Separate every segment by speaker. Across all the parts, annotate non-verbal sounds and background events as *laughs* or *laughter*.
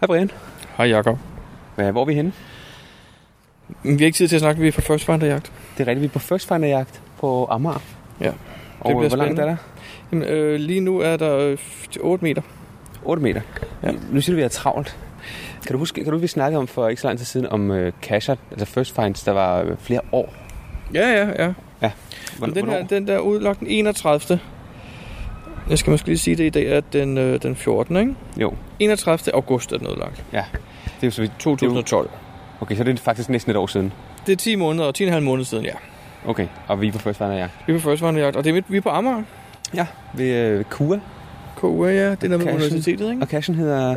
Speaker 1: Hej Brian.
Speaker 2: Hej Jakob.
Speaker 1: Hvad, hvor er vi henne?
Speaker 2: Vi har ikke tid til at snakke, vi er på First Finder Jagt.
Speaker 1: Det er rigtigt, vi er på First Finder-jagt på Amager.
Speaker 2: Ja, det
Speaker 1: Og øh,
Speaker 2: bliver
Speaker 1: hvor langt
Speaker 2: spændende.
Speaker 1: er der?
Speaker 2: Jamen, øh, lige nu er der øh, 8 meter.
Speaker 1: 8 meter. Ja.
Speaker 2: Ja.
Speaker 1: Nu siger du, vi er travlt. Kan du huske, kan du huske, vi snakkede om for ikke så lang tid siden om øh, casher, altså first finds, der var øh, flere år.
Speaker 2: Ja, ja, ja.
Speaker 1: Hvor,
Speaker 2: den, her, den der er udlagt den 31. Jeg skal måske lige sige det i dag, at den, øh, den 14. Ikke?
Speaker 1: Jo,
Speaker 2: 31. august er den udlagt.
Speaker 1: det er jo så vidt.
Speaker 2: 2012.
Speaker 1: Okay, så det er faktisk næsten et år siden.
Speaker 2: Det er 10 måneder og 10,5 måneder siden, ja.
Speaker 1: Okay, og vi er på first finder-jagt.
Speaker 2: Vi er på First Finder Jagt, og det er midt, vi er på Amager.
Speaker 1: Ja, ved øh, KUA,
Speaker 2: KUA, ja. Det er noget med
Speaker 1: Cashen.
Speaker 2: universitetet, ikke?
Speaker 1: og cashen hedder...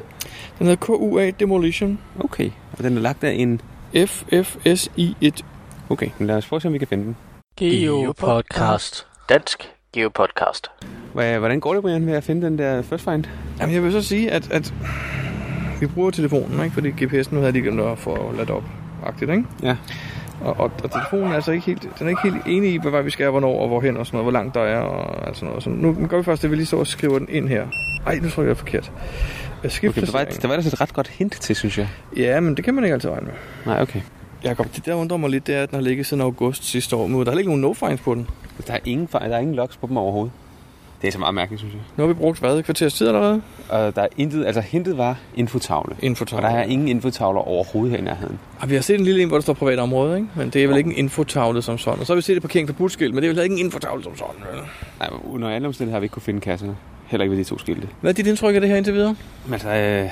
Speaker 2: Den hedder KUA Demolition
Speaker 1: Okay, og den er lagt af en...
Speaker 2: FFSI1.
Speaker 1: Okay, men lad os prøve at se, om vi kan finde den.
Speaker 3: Geo Podcast. Dansk Geo Podcast.
Speaker 1: Hva- Hvordan går det, Brian, med at finde den der first find?
Speaker 2: Jamen, jeg vil så sige, at, at vi bruger telefonen, ikke? Fordi GPS'en nu havde de glemt at få ladt op. Agtigt, ikke?
Speaker 1: Ja.
Speaker 2: Og, og, og, telefonen er altså ikke helt, den er ikke helt enig i, hvad vej vi skal, og hvornår og hvorhen og sådan noget, hvor langt der er og alt sådan noget. Så nu, nu gør vi først, at vi lige står og skriver den ind her. Ej, nu tror jeg, jeg forkert. Jeg
Speaker 1: Okay, der var,
Speaker 2: okay,
Speaker 1: der var altså et ret godt hint til, synes jeg.
Speaker 2: Ja, men det kan man ikke altid regne med.
Speaker 1: Nej, okay.
Speaker 2: Jakob, det der undrer mig lidt, det er, at den har ligget siden august sidste år, men der er ikke nogen no-fines på den.
Speaker 1: Der er ingen, fejl- der er ingen logs på dem overhovedet. Det er så meget mærkeligt, synes jeg.
Speaker 2: Nu har vi brugt hvad? Et kvarters tid allerede?
Speaker 1: Og der er intet, altså hintet var infotavle. Og
Speaker 2: Infotavle.
Speaker 1: der er ingen infotavler overhovedet her i nærheden.
Speaker 2: Og vi har set en lille en, hvor der står privat område, ikke? men det er vel ikke en infotavle som sådan. Og så har vi set et parkering for budskilt, men det er vel heller ikke en infotavle som sådan. vel?
Speaker 1: Nej, under alle omstændigheder har vi ikke kunne finde kasserne. Heller ikke ved de to skilte.
Speaker 2: Hvad er dit indtryk af det her indtil videre?
Speaker 1: Men altså, øh, det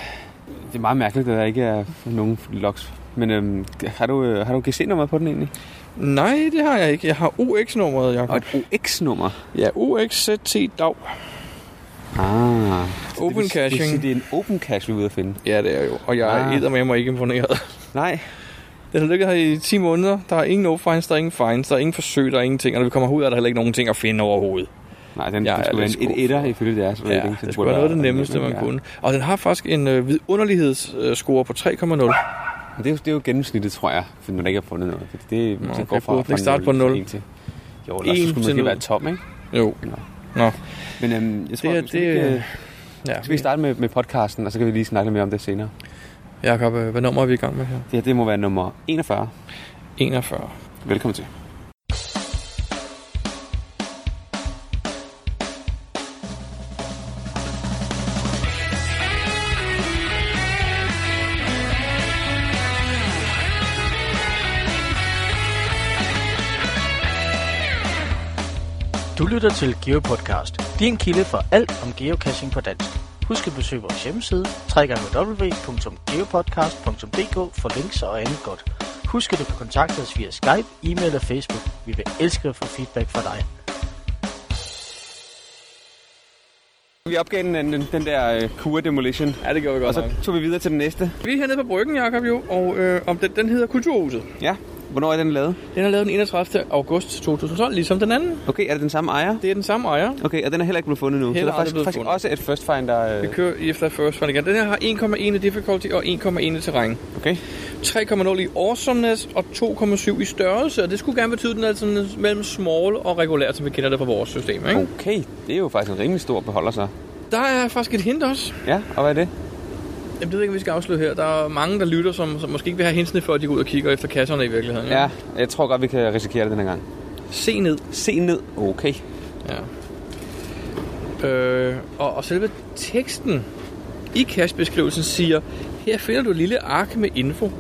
Speaker 1: er meget mærkeligt, at der ikke er nogen logs. Men øhm, har du, øh, har du GC-nummeret på den egentlig?
Speaker 2: Nej, det har jeg ikke. Jeg har OX-nummeret, Jacob.
Speaker 1: Og et OX-nummer.
Speaker 2: Ja, OXZT dag.
Speaker 1: Ah.
Speaker 2: Open
Speaker 1: det vil, Det, vil
Speaker 2: caching.
Speaker 1: sige, det er en open cache, vi er ude at finde.
Speaker 2: Ja, det er jo. Og jeg
Speaker 1: Ah.
Speaker 2: er med mig ikke imponeret.
Speaker 1: Nej.
Speaker 2: Den har ligget her i 10 måneder. Der er ingen no-fines, der er ingen fines, der er ingen forsøg, der er ingenting. Og når vi kommer ud, er der heller ikke nogen ting at finde overhovedet.
Speaker 1: Nej, den,
Speaker 2: Jeg
Speaker 1: den
Speaker 2: er
Speaker 1: skulle være
Speaker 2: lidt
Speaker 1: en- et
Speaker 2: skuffet.
Speaker 1: etter ifølge deres
Speaker 2: Ja,
Speaker 1: rating. så
Speaker 2: det
Speaker 1: burde
Speaker 2: skulle være noget af
Speaker 1: være-
Speaker 2: det nemmeste, man
Speaker 1: ja.
Speaker 2: kunne. Og den har faktisk en øh, vidunderlighedsscore på 3,0.
Speaker 1: Men Det er, jo, det er jo gennemsnittet, tror jeg, for man ikke har fundet noget. Fordi det,
Speaker 2: Nå,
Speaker 1: Nå, det
Speaker 2: okay,
Speaker 1: går fra,
Speaker 2: burde den
Speaker 1: fra
Speaker 2: ikke starte på
Speaker 1: til
Speaker 2: nul?
Speaker 1: en til. Jo, eller så
Speaker 2: En
Speaker 1: skulle man
Speaker 2: til
Speaker 1: måske
Speaker 2: nul.
Speaker 1: være tom, ikke?
Speaker 2: Jo.
Speaker 1: Nå.
Speaker 2: Nå.
Speaker 1: Men øhm, jeg tror,
Speaker 2: Det er-
Speaker 1: det, det,
Speaker 2: det-
Speaker 1: ikke, øh,
Speaker 2: Ja.
Speaker 1: skal vi starte med, med podcasten, og så kan vi lige snakke lidt mere om det senere.
Speaker 2: Jakob, øh, hvad nummer er vi i gang med her?
Speaker 1: Det her, det må være nummer 41.
Speaker 2: 41.
Speaker 1: Velkommen til.
Speaker 3: Du lytter til Geo Podcast. Din kilde for alt om geocaching på dansk. Husk at besøge vores hjemmeside www.geopodcast.dk for links og andet godt. Husk at du kan kontakte os via Skype, e-mail og Facebook. Vi vil elske at få feedback fra dig.
Speaker 1: Vi opgav den, den, den der uh, Cure Demolition,
Speaker 2: Ja, det gjorde vi
Speaker 1: og
Speaker 2: godt
Speaker 1: så tog vi videre til den næste.
Speaker 2: Vi er hernede på Bryggen, Jakob, jo, og øh, om den, den hedder Kulturhuset.
Speaker 1: Ja, hvornår er den lavet?
Speaker 2: Den er lavet den 31. august 2012, ligesom den anden.
Speaker 1: Okay, er det den samme ejer?
Speaker 2: Det er den samme ejer.
Speaker 1: Okay, og den er heller ikke blevet fundet nu.
Speaker 2: Heller
Speaker 1: så der er
Speaker 2: aldrig
Speaker 1: faktisk,
Speaker 2: blevet
Speaker 1: faktisk
Speaker 2: fundet.
Speaker 1: også et first finder.
Speaker 2: Vi
Speaker 1: Øh,
Speaker 2: kører i efter first fund igen. Den her har 1,1 i difficulty og 1,1 i terræn.
Speaker 1: okay.
Speaker 2: 3,0 i awesomeness og 2,7 i størrelse, og det skulle gerne betyde, at den er sådan mellem small og regulær, som vi kender det fra vores system. Ikke?
Speaker 1: Okay, det er jo faktisk en rimelig stor beholder så.
Speaker 2: Der er faktisk et hint også.
Speaker 1: Ja, og hvad er det?
Speaker 2: Mm. Jeg ved ikke, om vi skal afsløre her. Der er mange, der lytter, som, som måske ikke vil have hintsene, før de går ud og kigger efter kasserne i virkeligheden. ikke?
Speaker 1: Ja, jeg tror godt, vi kan risikere det den her gang.
Speaker 2: Se ned.
Speaker 1: Se ned. Okay.
Speaker 2: Ja. Øh, og, og selve teksten i kastbeskrivelsen siger, her finder du et lille ark med info.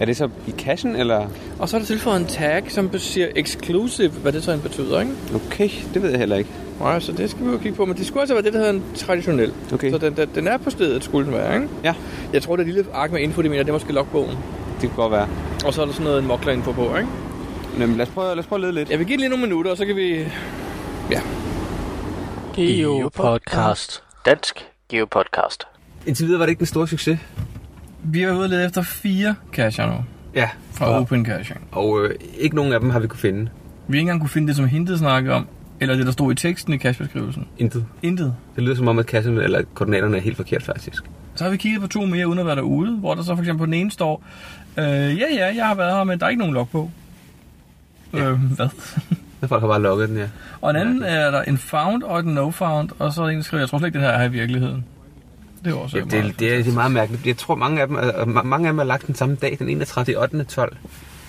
Speaker 1: Er det så i kassen, eller?
Speaker 2: Og så er der tilføjet en tag, som siger exclusive, hvad det så end betyder, ikke?
Speaker 1: Okay, det ved jeg heller ikke.
Speaker 2: Nej, så det skal vi jo kigge på, men det skulle altså være det, der hedder en traditionel.
Speaker 1: Okay.
Speaker 2: Så den, den, den er på stedet, skulle den være, ikke?
Speaker 1: Ja,
Speaker 2: Jeg tror, det lille ark med info, de mener, det er måske logbogen.
Speaker 1: det kan godt være.
Speaker 2: Og så er der sådan noget en mokler på, ikke?
Speaker 1: Jamen, lad os prøve, lad os prøve at lede lidt.
Speaker 2: Jeg vil give det lige nogle minutter, og så kan vi
Speaker 3: Geo Podcast. Dansk Geo Podcast.
Speaker 1: Indtil videre var det ikke den store succes.
Speaker 2: Vi har ude og lede efter fire cacher nu
Speaker 1: Ja,
Speaker 2: fra ja. Open Caching.
Speaker 1: og øh, ikke nogen af dem har vi kunne finde.
Speaker 2: Vi har ikke engang kunne finde det, som hintet snakkede om, eller det, der stod i teksten i cachebeskrivelsen.
Speaker 1: Intet.
Speaker 2: Intet.
Speaker 1: Det lyder som om, at kassen eller koordinaterne er helt forkert faktisk.
Speaker 2: Så har vi kigget på to mere, uden at være derude, hvor der så for eksempel på den ene står, øh, ja, ja, jeg har været her, men der er ikke nogen log på. Ja. Øh, hvad?
Speaker 1: Så folk har bare lukket den, ja.
Speaker 2: Og en anden er der en found og en no found, og så er der en, der skriver, jeg tror slet ikke, den her er her i virkeligheden. Det er også
Speaker 1: Ja, det, det, det, er, det er meget mærkeligt. Jeg tror, mange af dem er, ma- mange af dem er lagt den samme dag, den 31. 8. 12.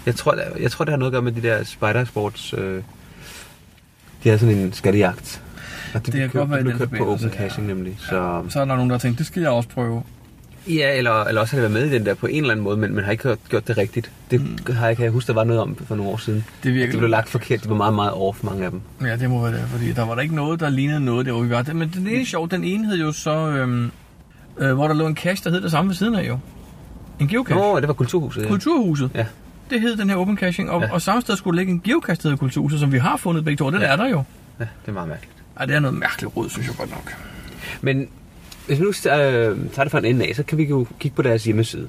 Speaker 1: Jeg tror, det, jeg tror, det har noget at gøre med de der spidersports... Øh, de har sådan en skattejagt. Og det,
Speaker 2: Det kan
Speaker 1: det
Speaker 2: godt være i
Speaker 1: blev, blev
Speaker 2: den
Speaker 1: kørt på
Speaker 2: forbindelse,
Speaker 1: open
Speaker 2: ja.
Speaker 1: caching nemlig. Så,
Speaker 2: Så er der nogen, der har tænkt, det skal jeg også prøve.
Speaker 1: ja, eller, eller også har det været med i den der på en eller anden måde, men man har ikke gjort, gjort det rigtigt. Det har jeg, kan jeg huske, der var noget om for nogle år siden.
Speaker 2: Det virker
Speaker 1: Det blev lagt forkert. Det var meget, meget off, mange af dem.
Speaker 2: Ja, det må være det, fordi der var der ikke noget, der lignede noget der, hvor vi var. Det- Men det, det er sjovt, den ene hed jo så, øhm, øh, hvor der lå en cache, der hed det samme ved siden af jo. En geocache.
Speaker 1: Nå, det var Kulturhuset. Ja.
Speaker 2: Kulturhuset.
Speaker 1: Ja.
Speaker 2: Det hed den her open caching, og, ja.
Speaker 1: Ja.
Speaker 2: og samme sted skulle ligge en geocache, der hed Kulturhuset, som vi har fundet begge to, og den ja.
Speaker 1: Ja.
Speaker 2: er der jo.
Speaker 1: ja, det er meget mærkeligt.
Speaker 2: Ej, det er noget mærkeligt råd, synes jeg godt nok.
Speaker 1: Men hvis vi nu øh, tager det fra en ende af, så kan vi jo kigge på deres hjemmeside.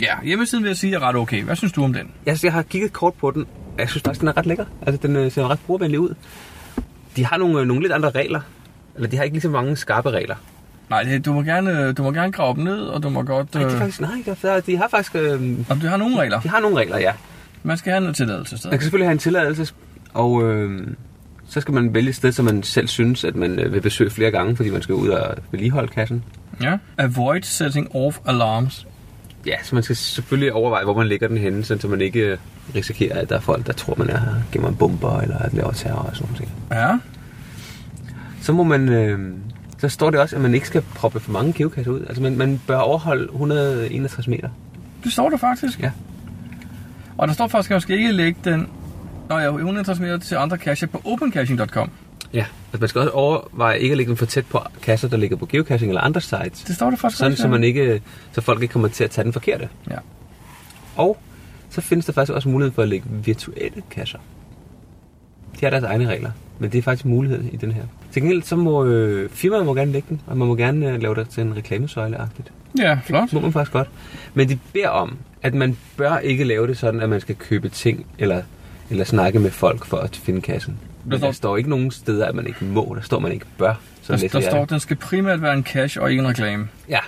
Speaker 2: Ja, hjemmesiden vil jeg sige er ret okay. Hvad synes du om den?
Speaker 1: Jeg, jeg har kigget kort på den, og jeg synes faktisk, den er ret lækker. Altså, den øh, ser ret brugervenlig ud. De har nogle, øh, nogle lidt andre regler. Eller de har ikke lige så mange skarpe regler.
Speaker 2: Nej, det, du, må gerne, du må gerne grave dem ned, og du må godt...
Speaker 1: Nej, de,
Speaker 2: øh,
Speaker 1: er faktisk, nej, der- der- de har faktisk... Øh,
Speaker 2: Om du har nogle regler.
Speaker 1: de har nogle regler, ja.
Speaker 2: Man skal have noget tilladelse
Speaker 1: Man
Speaker 2: stadig.
Speaker 1: kan selvfølgelig have en tilladelse, og øh, så skal man vælge et sted, som man selv synes, at man øh, vil besøge flere gange, fordi man skal ud og vedligeholde kassen.
Speaker 2: Ja. Avoid setting off alarms.
Speaker 1: Ja, så man skal selvfølgelig overveje, hvor man lægger den henne, sådan så man ikke øh, risikerer, at der er folk, der tror, man er gemmer en bomber eller laver terror og sådan noget.
Speaker 2: Ja.
Speaker 1: så må man... Øh, så står det også, at man ikke skal proppe for mange geokasser ud. Altså, man, man bør overholde 161 meter.
Speaker 2: Det står der faktisk.
Speaker 1: Ja.
Speaker 2: Og der står faktisk, at man skal ikke lægge den... Nå ja, 160 meter til andre cacher på opencaching.com.
Speaker 1: Ja. Altså, man skal også overveje ikke at lægge dem for tæt på kasser, der ligger på geocaching eller andre sites.
Speaker 2: Det står der faktisk
Speaker 1: Sådan,
Speaker 2: også,
Speaker 1: så,
Speaker 2: ja.
Speaker 1: man ikke, øh, så folk ikke kommer til at tage den forkerte.
Speaker 2: Ja.
Speaker 1: Og så findes der faktisk også mulighed for at lægge virtuelle kasser. De har deres egne regler, men det er faktisk mulighed i den her. Til gengæld så må øh, firmaet må gerne lægge den, og man må gerne øh, lave det til en reklamesøjleagtigt.
Speaker 2: Ja, flot.
Speaker 1: må man faktisk godt. Men de beder om, at man bør ikke lave det sådan, at man skal købe ting eller, eller snakke med folk for at finde kassen.
Speaker 2: Der
Speaker 1: Men
Speaker 2: står-
Speaker 1: der står ikke nogen steder, at man ikke må. Der står, at man ikke bør. Sådan
Speaker 2: Der,
Speaker 1: læser
Speaker 2: Altså, der
Speaker 1: jeg
Speaker 2: står, at
Speaker 1: det.
Speaker 2: den skal primært være en cache og ikke en reklame.
Speaker 1: Ja,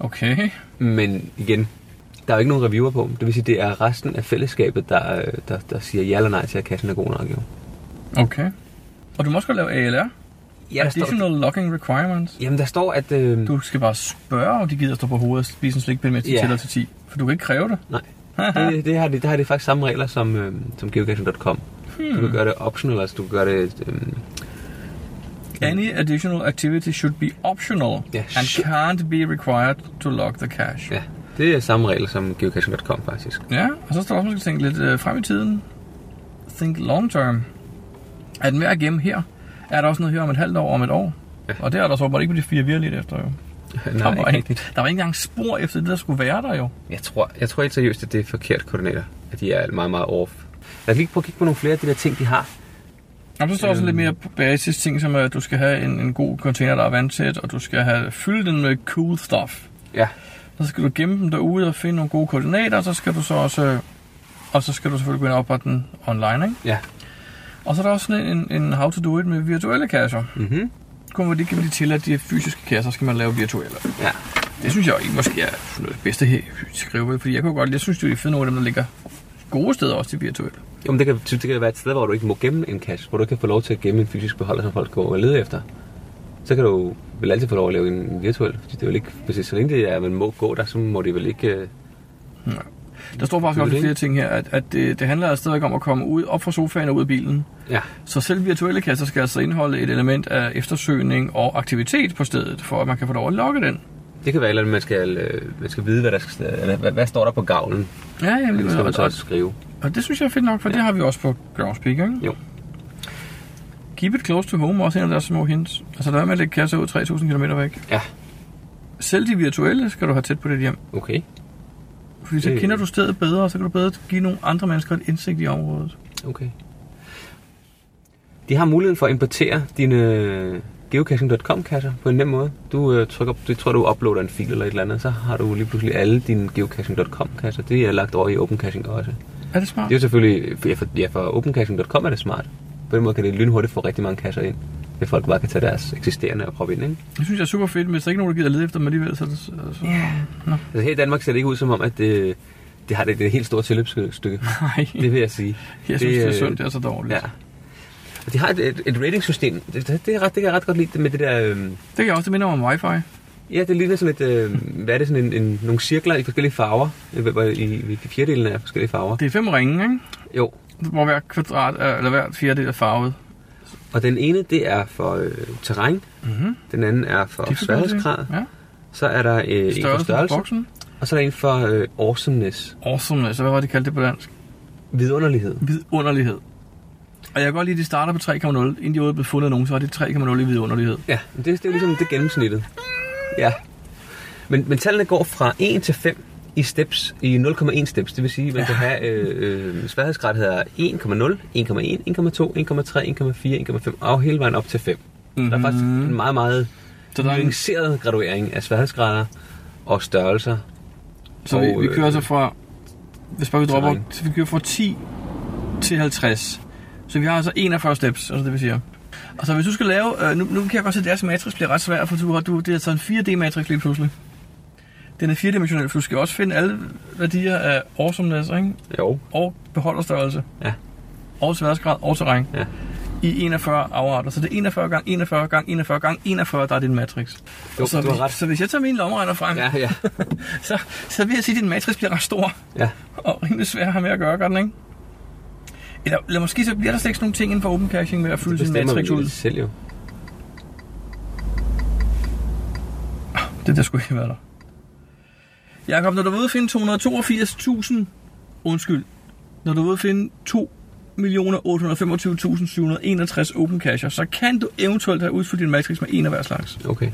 Speaker 2: Okay.
Speaker 1: men igen, der er jo ikke nogen reviewer på. Det vil sige, det er resten af fællesskabet, der, øh, der, der siger ja eller nej til, at kassen er god nok. Jo.
Speaker 2: Okay. Og du må også godt lave ALR.
Speaker 1: Ja, der står,
Speaker 2: Additional logging requirements.
Speaker 1: jamen, der står, at... Øh,
Speaker 2: Du skal bare spørge, om de gider stå på hovedet og spise en slikpind, mens de
Speaker 1: Ja.
Speaker 2: tæller til 10. For du kan ikke kræve det.
Speaker 1: Nej, det, det, har de, der har de faktisk samme regler som, øh, som geocaching.com. Hmm. Du kan gøre det optional, altså du kan gøre det... Øh,
Speaker 2: Any additional activity should be optional
Speaker 1: Ja,
Speaker 2: and
Speaker 1: shit.
Speaker 2: can't be required to log the cache.
Speaker 1: ja, det er samme regler som geocaching.com faktisk.
Speaker 2: Ja, og så står der også, at man skal tænke lidt øh, frem i tiden. Think long term. Er den ved at gemme her? Er der også noget her om et halvt år, om et år? Ja. Og det er der så åbenbart ikke på de fire vi har lidt efter, jo.
Speaker 1: *laughs* Nej,
Speaker 2: der, var
Speaker 1: ikke
Speaker 2: ikke, der var ikke engang spor efter det, der skulle være der, jo.
Speaker 1: Jeg tror, jeg tror helt seriøst, at det er forkert koordinater. At de er meget, meget off. Lad os lige prøve at kigge på nogle flere af de der ting, de har.
Speaker 2: Og så står også lidt mere
Speaker 1: Øhm.
Speaker 2: basis ting, som at du skal have en, en god container, der er vandtæt, og du skal have fyldt den med cool stuff.
Speaker 1: Ja.
Speaker 2: Så skal du gemme dem derude og finde nogle gode koordinater, og så skal du så også... øh, Og så skal du selvfølgelig gå ind og oprette den online, ikke?
Speaker 1: Ja.
Speaker 2: Og så er der også sådan en, en how to do it med virtuelle kasser.
Speaker 1: Mm-hmm.
Speaker 2: Kun fordi kan vi til, at de her fysiske kasser skal man lave virtuelle.
Speaker 1: ja.
Speaker 2: Det synes jeg ikke måske er noget af det bedste her skrive, fordi jeg kunne godt, jeg synes, det er fedt nogle af dem, der ligger gode steder også til virtuelle.
Speaker 1: Jo, men det kan, det kan være et sted, hvor du ikke må gemme en cache. Hvor du ikke kan få lov til at gemme en fysisk beholder, som folk går og leder efter. Så kan du vel altid få lov at lave en virtuel. Fordi det er vel ikke, hvis så længe det er, at man må gå der, så må det vel ikke... øh,
Speaker 2: Der står faktisk
Speaker 1: Det er
Speaker 2: også
Speaker 1: det.
Speaker 2: flere ting her, at, at det, det handler stadig om at komme ud, op fra sofaen og ud af bilen.
Speaker 1: Ja,
Speaker 2: Så selv virtuelle kasser skal altså indeholde et element af eftersøgning og aktivitet på stedet, for at man kan få lov at logge den.
Speaker 1: det kan være, et eller andet, man skal, øh, man skal vide, hvad der skal, eller hvad, hvad står der på gavlen.
Speaker 2: Ja, jamen,
Speaker 1: Det skal man
Speaker 2: det,
Speaker 1: så
Speaker 2: og,
Speaker 1: også skrive.
Speaker 2: og, det synes jeg er fedt nok, for ja. det har vi også på Groundspeak, ikke?
Speaker 1: Jo.
Speaker 2: Keep it close to home er også en af deres små hints. Altså der er med at lægge kasser ud 3000 km væk.
Speaker 1: Ja,
Speaker 2: Selv de virtuelle skal du have tæt på dit hjem.
Speaker 1: okay.
Speaker 2: Fordi så
Speaker 1: Det-
Speaker 2: kender du stedet bedre, og så kan du bedre give nogle andre mennesker et indsigt i området.
Speaker 1: Okay. De har muligheden for at importere dine øh, geocaching.com-kasser på en nem måde. Du øh, trykker, det tror du uploader en fil eller et eller andet, så har du lige pludselig alle dine geocaching.com-kasser. Det er lagt over i OpenCaching også.
Speaker 2: Er det smart?
Speaker 1: Det er jo selvfølgelig, ja for, ja, for OpenCaching.com er det smart. På den måde kan det lynhurtigt få rigtig mange kasser ind, hvis folk bare kan tage deres eksisterende og proppe ind, ikke?
Speaker 2: Det synes jeg er super fedt, men hvis der ikke er nogen, der gider lede efter dem alligevel, så... så så-
Speaker 1: Altså her i Danmark ser det ikke ud som om, at det, det har det, det er et helt stort tilløbsstykke.
Speaker 2: *laughs* Nej,
Speaker 1: Det vil jeg sige.
Speaker 2: jeg synes, det er
Speaker 1: øh,
Speaker 2: synd, det er så dårligt.
Speaker 1: Ja. Og de har et, et, et ratingsystem. Det, det, det, er ret, det kan jeg ret godt lide det med det der... Øh,
Speaker 2: Det kan jeg også, det minder mig om wifi.
Speaker 1: Ja, det ligner sådan et, øh, hvad er det, sådan en, en, nogle cirkler i forskellige farver, øh, hvor- hvor i, i fjerdedelen er forskellige farver.
Speaker 2: Det er fem ringe, ikke?
Speaker 1: Jo,
Speaker 2: Hvor hver kvadrat, er, eller hver fjerdedel er farvet.
Speaker 1: og den ene, det er for øh, terræn,
Speaker 2: Mm-hmm.
Speaker 1: den anden er for sværhedsgrad,
Speaker 2: Ja.
Speaker 1: så er der øh, en for
Speaker 2: Størrelsen størrelse.
Speaker 1: størrelse,
Speaker 2: på boksen.
Speaker 1: og så er der en for øh, awesomeness,
Speaker 2: Awesome, altså hvad var det kaldt det på dansk?
Speaker 1: vidunderlighed.
Speaker 2: Vidunderlighed. Og jeg kan godt lide, at de starter på 3,0. Inden de overhovedet blev fundet af nogen, så er det 3,0 i vidunderlighed.
Speaker 1: Ja, men det, det er jo ligesom det gennemsnittet. Ja. Men, men tallene går fra 1 til 5 i steps, i 0,1 steps. Det vil sige, at man kan have øh, øh, sværhedsgrad hedder 1,0, 1,1, 1,2, 1,3, 1,4, 1,5 og hele vejen op til 5. Mm-hmm. Der er faktisk
Speaker 2: Mhm.
Speaker 1: en meget, meget
Speaker 2: Så, der er en,
Speaker 1: nuanceret graduering af sværhedsgrader og størrelser.
Speaker 2: så vi, vi kører
Speaker 1: øh,
Speaker 2: så fra... Hvis bare vi dropper...
Speaker 1: terræn.
Speaker 2: Så vi kører fra 10 til 50. Så vi har altså 41 steps, altså det vil sige. Og så hvis du skal lave... Øh, nu, nu kan jeg godt se, at deres matrix bliver ret svær, for du, har- du, det er altså en 4D-matrix lige pludselig. Den er firedimensionel, for du skal også finde alle værdier af awesomeness, ikke?
Speaker 1: Jo.
Speaker 2: og beholderstørrelse.
Speaker 1: Ja.
Speaker 2: Og sværdesgrad og terræn.
Speaker 1: Ja.
Speaker 2: I 41 afarter. Så det er 41 gange 41 gange 41 gange 41, der er din matrix.
Speaker 1: Jo,
Speaker 2: så,
Speaker 1: du har
Speaker 2: hvis,
Speaker 1: ret.
Speaker 2: så hvis jeg tager min lommeregner frem,
Speaker 1: Ja, ja.
Speaker 2: så, så vil jeg sige, at din matrix bliver ret stor
Speaker 1: ja.
Speaker 2: og rimelig svær at have med at gøre, gør den ikke? Eller, eller måske så bliver der slet ikke sådan nogle ting inden for open caching med at fylde sin
Speaker 1: Bestemmer
Speaker 2: matrix
Speaker 1: vi
Speaker 2: ud.
Speaker 1: det selv jo.
Speaker 2: Det der skulle ikke være der. Jakob, når du er ude at finde 282.000, undskyld, når du er ude at finde 2.825.761 open cacher, så kan du eventuelt have udfyldt din matrix med en af hver slags.
Speaker 1: Okay.
Speaker 2: 2,8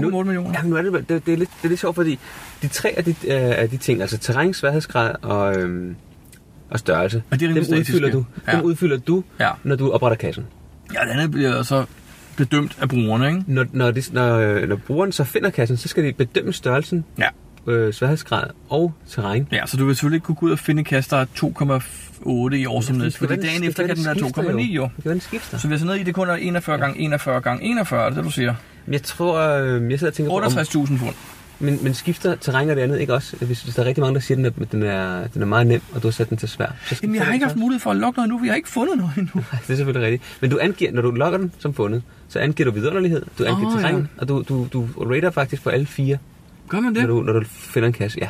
Speaker 2: millioner.
Speaker 1: Ja, nu er det, det, det, er lidt, det er lidt sjovt, fordi de tre af de, øh, af de ting, altså terræn, sværhedsgrad og, øhm, og størrelse,
Speaker 2: Og de er
Speaker 1: dem
Speaker 2: rimelig
Speaker 1: udfylder,
Speaker 2: statiske.
Speaker 1: du,
Speaker 2: Ja.
Speaker 1: dem udfylder du,
Speaker 2: Ja.
Speaker 1: når du opretter kassen.
Speaker 2: Ja, det andet bliver så bedømt af brugerne, ikke?
Speaker 1: Når, når, de, når, øh, når brugeren så finder kassen, så skal de bedømme størrelsen,
Speaker 2: Ja.
Speaker 1: øh, sværhedsgrad og terræn.
Speaker 2: Ja, så du vil selvfølgelig ikke kunne gå ud og finde kaster 2,8 i årsomnæs, fordi
Speaker 1: Hvordan-
Speaker 2: dagen
Speaker 1: det
Speaker 2: efter kan den være
Speaker 1: skifter
Speaker 2: 2,9 jo.
Speaker 1: Det kan være, den skifter.
Speaker 2: Så vi er så nede i, det kun er 41 gange 41 gange 41, er det det du siger.
Speaker 1: Men jeg tror, øh, jeg sidder og tænker på, om,
Speaker 2: 68.000 pund.
Speaker 1: men, men skifter terræn og det andet ikke også? Hvis, hvis der er rigtig mange, der siger, at den er, den er, den er meget nem, og du har sat den til svær. Så
Speaker 2: Jamen, jeg
Speaker 1: skifter
Speaker 2: har
Speaker 1: den
Speaker 2: ikke
Speaker 1: så.
Speaker 2: haft mulighed for at logge noget endnu, vi har ikke fundet noget
Speaker 1: *laughs*
Speaker 2: endnu.
Speaker 1: Nej, det er selvfølgelig rigtigt. Men du angiver, når du logger den som fundet, så angiver du vidunderlighed, du angiver
Speaker 2: Åh,
Speaker 1: oh,
Speaker 2: ja.
Speaker 1: terræn, ja. og du, du, du rater faktisk på alle fire,
Speaker 2: Gør man
Speaker 1: når
Speaker 2: det?
Speaker 1: du, når du finder en kasse. Ja,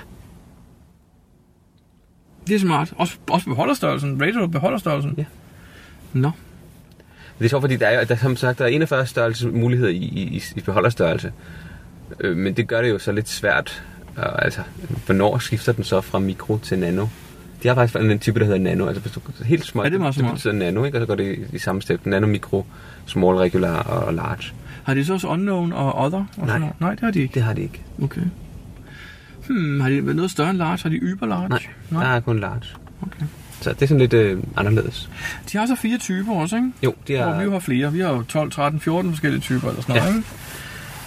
Speaker 2: Det er smart. Også, også beholderstørrelsen. Rater du beholderstørrelsen?
Speaker 1: Ja.
Speaker 2: Nå.
Speaker 1: Men det er sjovt, fordi der er, der, som sagt, der er 41 størrelse muligheder i, i, i- i beholderstørrelse. Øh, men det gør det jo så lidt svært. Og, altså, hvornår skifter den så fra mikro til nano? De har faktisk en type, der hedder nano. Altså, hvis du helt små,
Speaker 2: Ja, det er meget
Speaker 1: det
Speaker 2: smart.
Speaker 1: betyder nano, ikke? Og så går det i, i samme step. Nano, mikro, small, regular og, og large.
Speaker 2: Har de så også unknown og other? Og sådan
Speaker 1: Nej.
Speaker 2: noget? Nej, det har de ikke.
Speaker 1: Det har de ikke.
Speaker 2: Okay. Hmm, har de været noget større end large? Har de yber large?
Speaker 1: Nej, Nej. der
Speaker 2: Nej.
Speaker 1: er kun large.
Speaker 2: Okay.
Speaker 1: Så det er sådan lidt øh, anderledes.
Speaker 2: De har så fire typer også, ikke?
Speaker 1: Jo, det
Speaker 2: Hvor
Speaker 1: er,
Speaker 2: vi jo har flere. Vi har jo 12, 13, 14 forskellige typer eller sådan noget,
Speaker 1: Ja.
Speaker 2: ikke?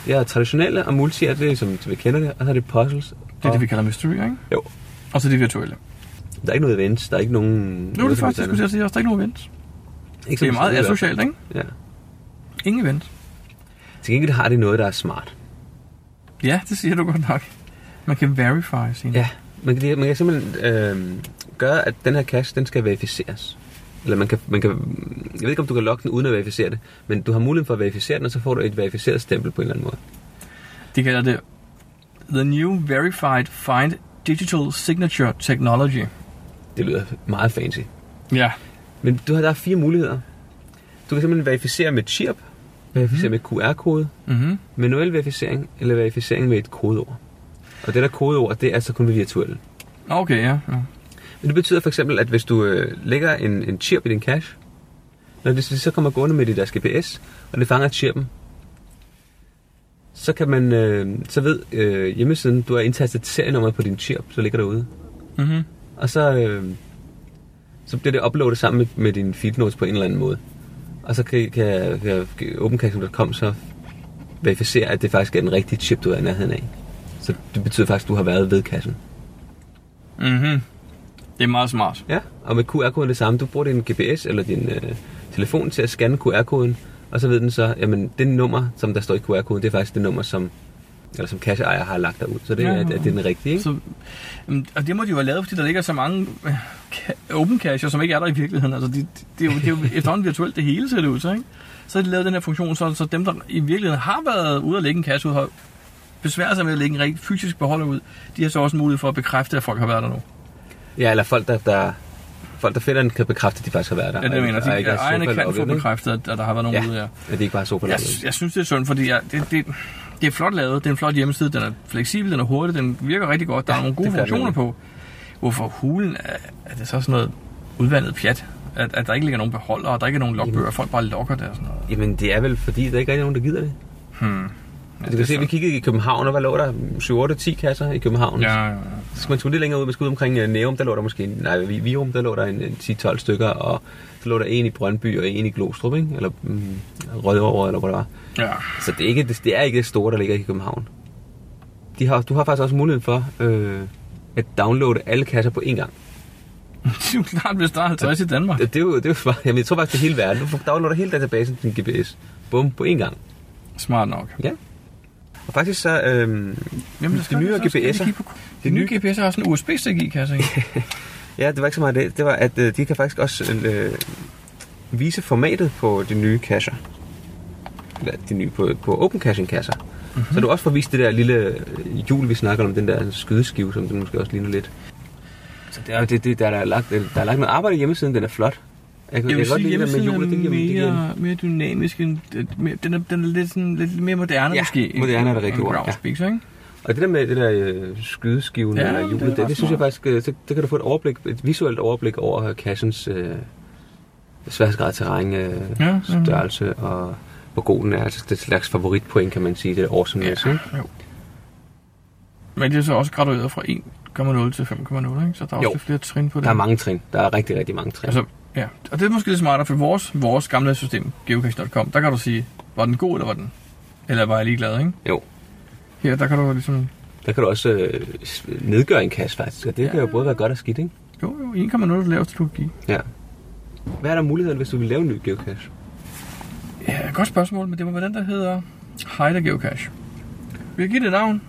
Speaker 1: det er traditionelle og multi, er det som vi kender det, og så er det puzzles.
Speaker 2: Det er det, vi kalder mystery, ikke?
Speaker 1: Jo.
Speaker 2: Og så de virtuelle.
Speaker 1: Der er ikke noget events, der er ikke nogen...
Speaker 2: Nu er det faktisk, jeg skulle til at sige, at der er ikke nogen event.
Speaker 1: Ikke
Speaker 2: Det er
Speaker 1: som
Speaker 2: meget
Speaker 1: sådan, i hvert
Speaker 2: asocialt, ikke?
Speaker 1: fald. Ja.
Speaker 2: Ingen event.
Speaker 1: Til gengæld har det noget, der er smart.
Speaker 2: Mm. Ja, det siger du godt nok. Man kan verify sine.
Speaker 1: Ja, man kan, det- man kan simpelthen øh, gøre, at den her cache, den skal verificeres. Eller man kan, man kan, jeg ved ikke, om du kan logge den uden at verificere det, men du har muligheden for at verificere den, og så får du et verificeret stempel på en eller anden måde.
Speaker 2: De kalder det The New Verified Find Digital Signature Technology.
Speaker 1: Det lyder meget fancy.
Speaker 2: Ja.
Speaker 1: Men du har, der er fire muligheder. Du kan simpelthen verificere med chirp,
Speaker 2: Mhm.
Speaker 1: verificere mm-hmm. med QR-kode,
Speaker 2: Mm-hmm.
Speaker 1: manuel verificering eller verificering med et kodeord. Og det der kodeord, det er altså kun ved virtuelle.
Speaker 2: Okay, ja. ja.
Speaker 1: Men det betyder for eksempel, at hvis du øh, lægger en, en chirp i din cache, når det så kommer gående med dit deres GPS, og det fanger chirpen, så kan man, øh, så ved øh, hjemmesiden, du har indtastet serienummeret på din chirp, så ligger derude.
Speaker 2: Mm-hmm.
Speaker 1: Og så, øh, så bliver det uploadet sammen med, med din feed notes på en eller anden måde. Og så kan, kan, kan OpenCaching.com så verificere, at det faktisk er den rigtige chip, du er i nærheden af. Så det betyder faktisk, at du har været ved kassen.
Speaker 2: Mm-hmm. Det er meget smart.
Speaker 1: Ja, og med QR-koden det samme. Du bruger din GPS eller din øh, telefon til at scanne QR-koden, og så ved den så, jamen det nummer, som der står i QR-koden, det er faktisk det nummer, som, eller som cash-ejer har lagt derud. Så det
Speaker 2: Ja,
Speaker 1: er, at,
Speaker 2: ja.
Speaker 1: at det er den rigtige, ikke?
Speaker 2: Så, jamen, og det må de jo have lavet, fordi der ligger så mange øh, ka- open cacher, som ikke er der i virkeligheden. Altså, de, de, det, er jo, det er jo efterhånden virtuelt, det hele ser det ud til, ikke? Så har de lavet den her funktion, så, så dem, der i virkeligheden har været ude og lægge en cache ud, har besværer sig med at lægge en rigtig fysisk beholder ud, de har så også en mulighed for at bekræfte, at folk har været der nu.
Speaker 1: Ja, eller folk, der, der, folk, der finder den, kan bekræfte, at de faktisk har været der.
Speaker 2: Ja, det er det, jeg mener.
Speaker 1: Og
Speaker 2: De,
Speaker 1: ikke altså, er
Speaker 2: ejerne kan
Speaker 1: sofa-lukket,
Speaker 2: få
Speaker 1: ikke?
Speaker 2: bekræftet, at at der har været nogen ude
Speaker 1: Ja,
Speaker 2: her.
Speaker 1: at de ikke bare er sofa
Speaker 2: Jeg,
Speaker 1: yes.
Speaker 2: jeg synes, det er sundt, fordi jeg, det, det, det er flot lavet. Det er en flot hjemmeside. Den er fleksibel, den er hurtig, den virker rigtig godt. Der
Speaker 1: Ja,
Speaker 2: er nogle gode
Speaker 1: det gør den
Speaker 2: funktioner på. Hvorfor hulen er, er det så sådan noget udvandet pjat? At, at der ikke ligger nogen beholder, og der ikke er nogen logbøger. Folk bare logger det og sådan noget.
Speaker 1: Jamen, det er vel fordi, der ikke er nogen, der gider det. Altså,
Speaker 2: Hmm. Ja,
Speaker 1: du
Speaker 2: det er
Speaker 1: kan se,
Speaker 2: så-
Speaker 1: vi kiggede i København, og hvad lå der? 7-8-10 kasser i København.
Speaker 2: Ja, ja, ja.
Speaker 1: Så skal man skulle lidt længere ud, man skal ud omkring øh, Nærum, der lå der måske, nej, Vi- Virum, der lå der en, en 10-12 stykker, og så lå der en i Brøndby og en i Glostrup, ikke? eller mm, Rødovre, eller hvor det var.
Speaker 2: ja. *laughs*
Speaker 1: Så det er ikke det, det, er ikke det store, der ligger i København. De har, du har faktisk også muligheden for øh, at downloade alle kasser på én gang.
Speaker 2: Det er jo klart, hvis der er 50 i Danmark.
Speaker 1: Det, det, er jo, det er jo, bare- jamen, jeg tror faktisk, det er hele verden. Du downloader hele databasen til din GPS. Bum, på én gang.
Speaker 2: Smart nok.
Speaker 1: Ja. Og faktisk så, øh,
Speaker 2: Jamen,
Speaker 1: De
Speaker 2: skal vi
Speaker 1: nyere
Speaker 2: så- skal vi
Speaker 1: GPS'er.
Speaker 2: kigge på-
Speaker 1: De
Speaker 2: De nye
Speaker 1: nye-
Speaker 2: GPS'er har sådan en USB-stik i, kan jeg se.
Speaker 1: Ja, det var ikke så meget det. Det var, at øh, de kan faktisk også øh, vise formatet på de nye kasser. Eller de nye på, på open caching kasser.
Speaker 2: Mhm.
Speaker 1: Mm-hmm. Så du også får vist det der lille øh, hjul, vi snakker om, den der skydeskive, som den måske også ligner lidt. Så det er jo det, det der, der, er lagt, der er lagt noget arbejde i hjemmesiden, den er flot. Jeg, kan-
Speaker 2: Jeg vil
Speaker 1: kan
Speaker 2: sige,
Speaker 1: lide den
Speaker 2: hjemmesiden
Speaker 1: med hjulet, det
Speaker 2: er
Speaker 1: giver, det giver en-
Speaker 2: mere, mere dynamisk. End, øh, mere- den, er, den er lidt, sådan, lidt mere moderne
Speaker 1: Ja,
Speaker 2: måske. end-
Speaker 1: moderne er det
Speaker 2: end
Speaker 1: rigtige ord, ja.
Speaker 2: Groundspeak, så, ikke?
Speaker 1: Og det der med det der øh, skydeskiven
Speaker 2: Ja,
Speaker 1: ja, eller
Speaker 2: det
Speaker 1: hjulet,
Speaker 2: er
Speaker 1: det, det,
Speaker 2: ret
Speaker 1: det synes jeg
Speaker 2: smart.
Speaker 1: faktisk, øh, så, der kan du få et overblik, et visuelt overblik over kassens øh, sværsgrad terræn, øh,
Speaker 2: Ja,
Speaker 1: ja,
Speaker 2: mhm.
Speaker 1: størrelse og hvor god den er. Altså det slags favoritpoint, kan man sige, det er awesome ja. ikke?
Speaker 2: jo. Men det er så også gradueret fra 1,0 til 5,0, ikke? så der er også
Speaker 1: Jo.
Speaker 2: lidt flere trin på det.
Speaker 1: Der er mange trin. Der er rigtig, rigtig mange trin. Altså,
Speaker 2: Altså, ja. Og det er måske lidt smartere, for vores, vores gamle system, geocaching.com, der kan du sige, var den god, eller var den? Eller var jeg ligeglad, ikke?
Speaker 1: jo.
Speaker 2: Her, der kan du ligesom...
Speaker 1: Der kan du også øh, s- nedgøre en kasse faktisk, og det ja. kan jo både være godt og skidt, ikke?
Speaker 2: Jo, jo, 1,0 er det laveste, du kan give.
Speaker 1: Ja. Hvad er der muligheden, hvis du vil lave en ny geocache?
Speaker 2: Ja, godt spørgsmål, men det må være den, der hedder Heider Geocache. Vi kan give det navn.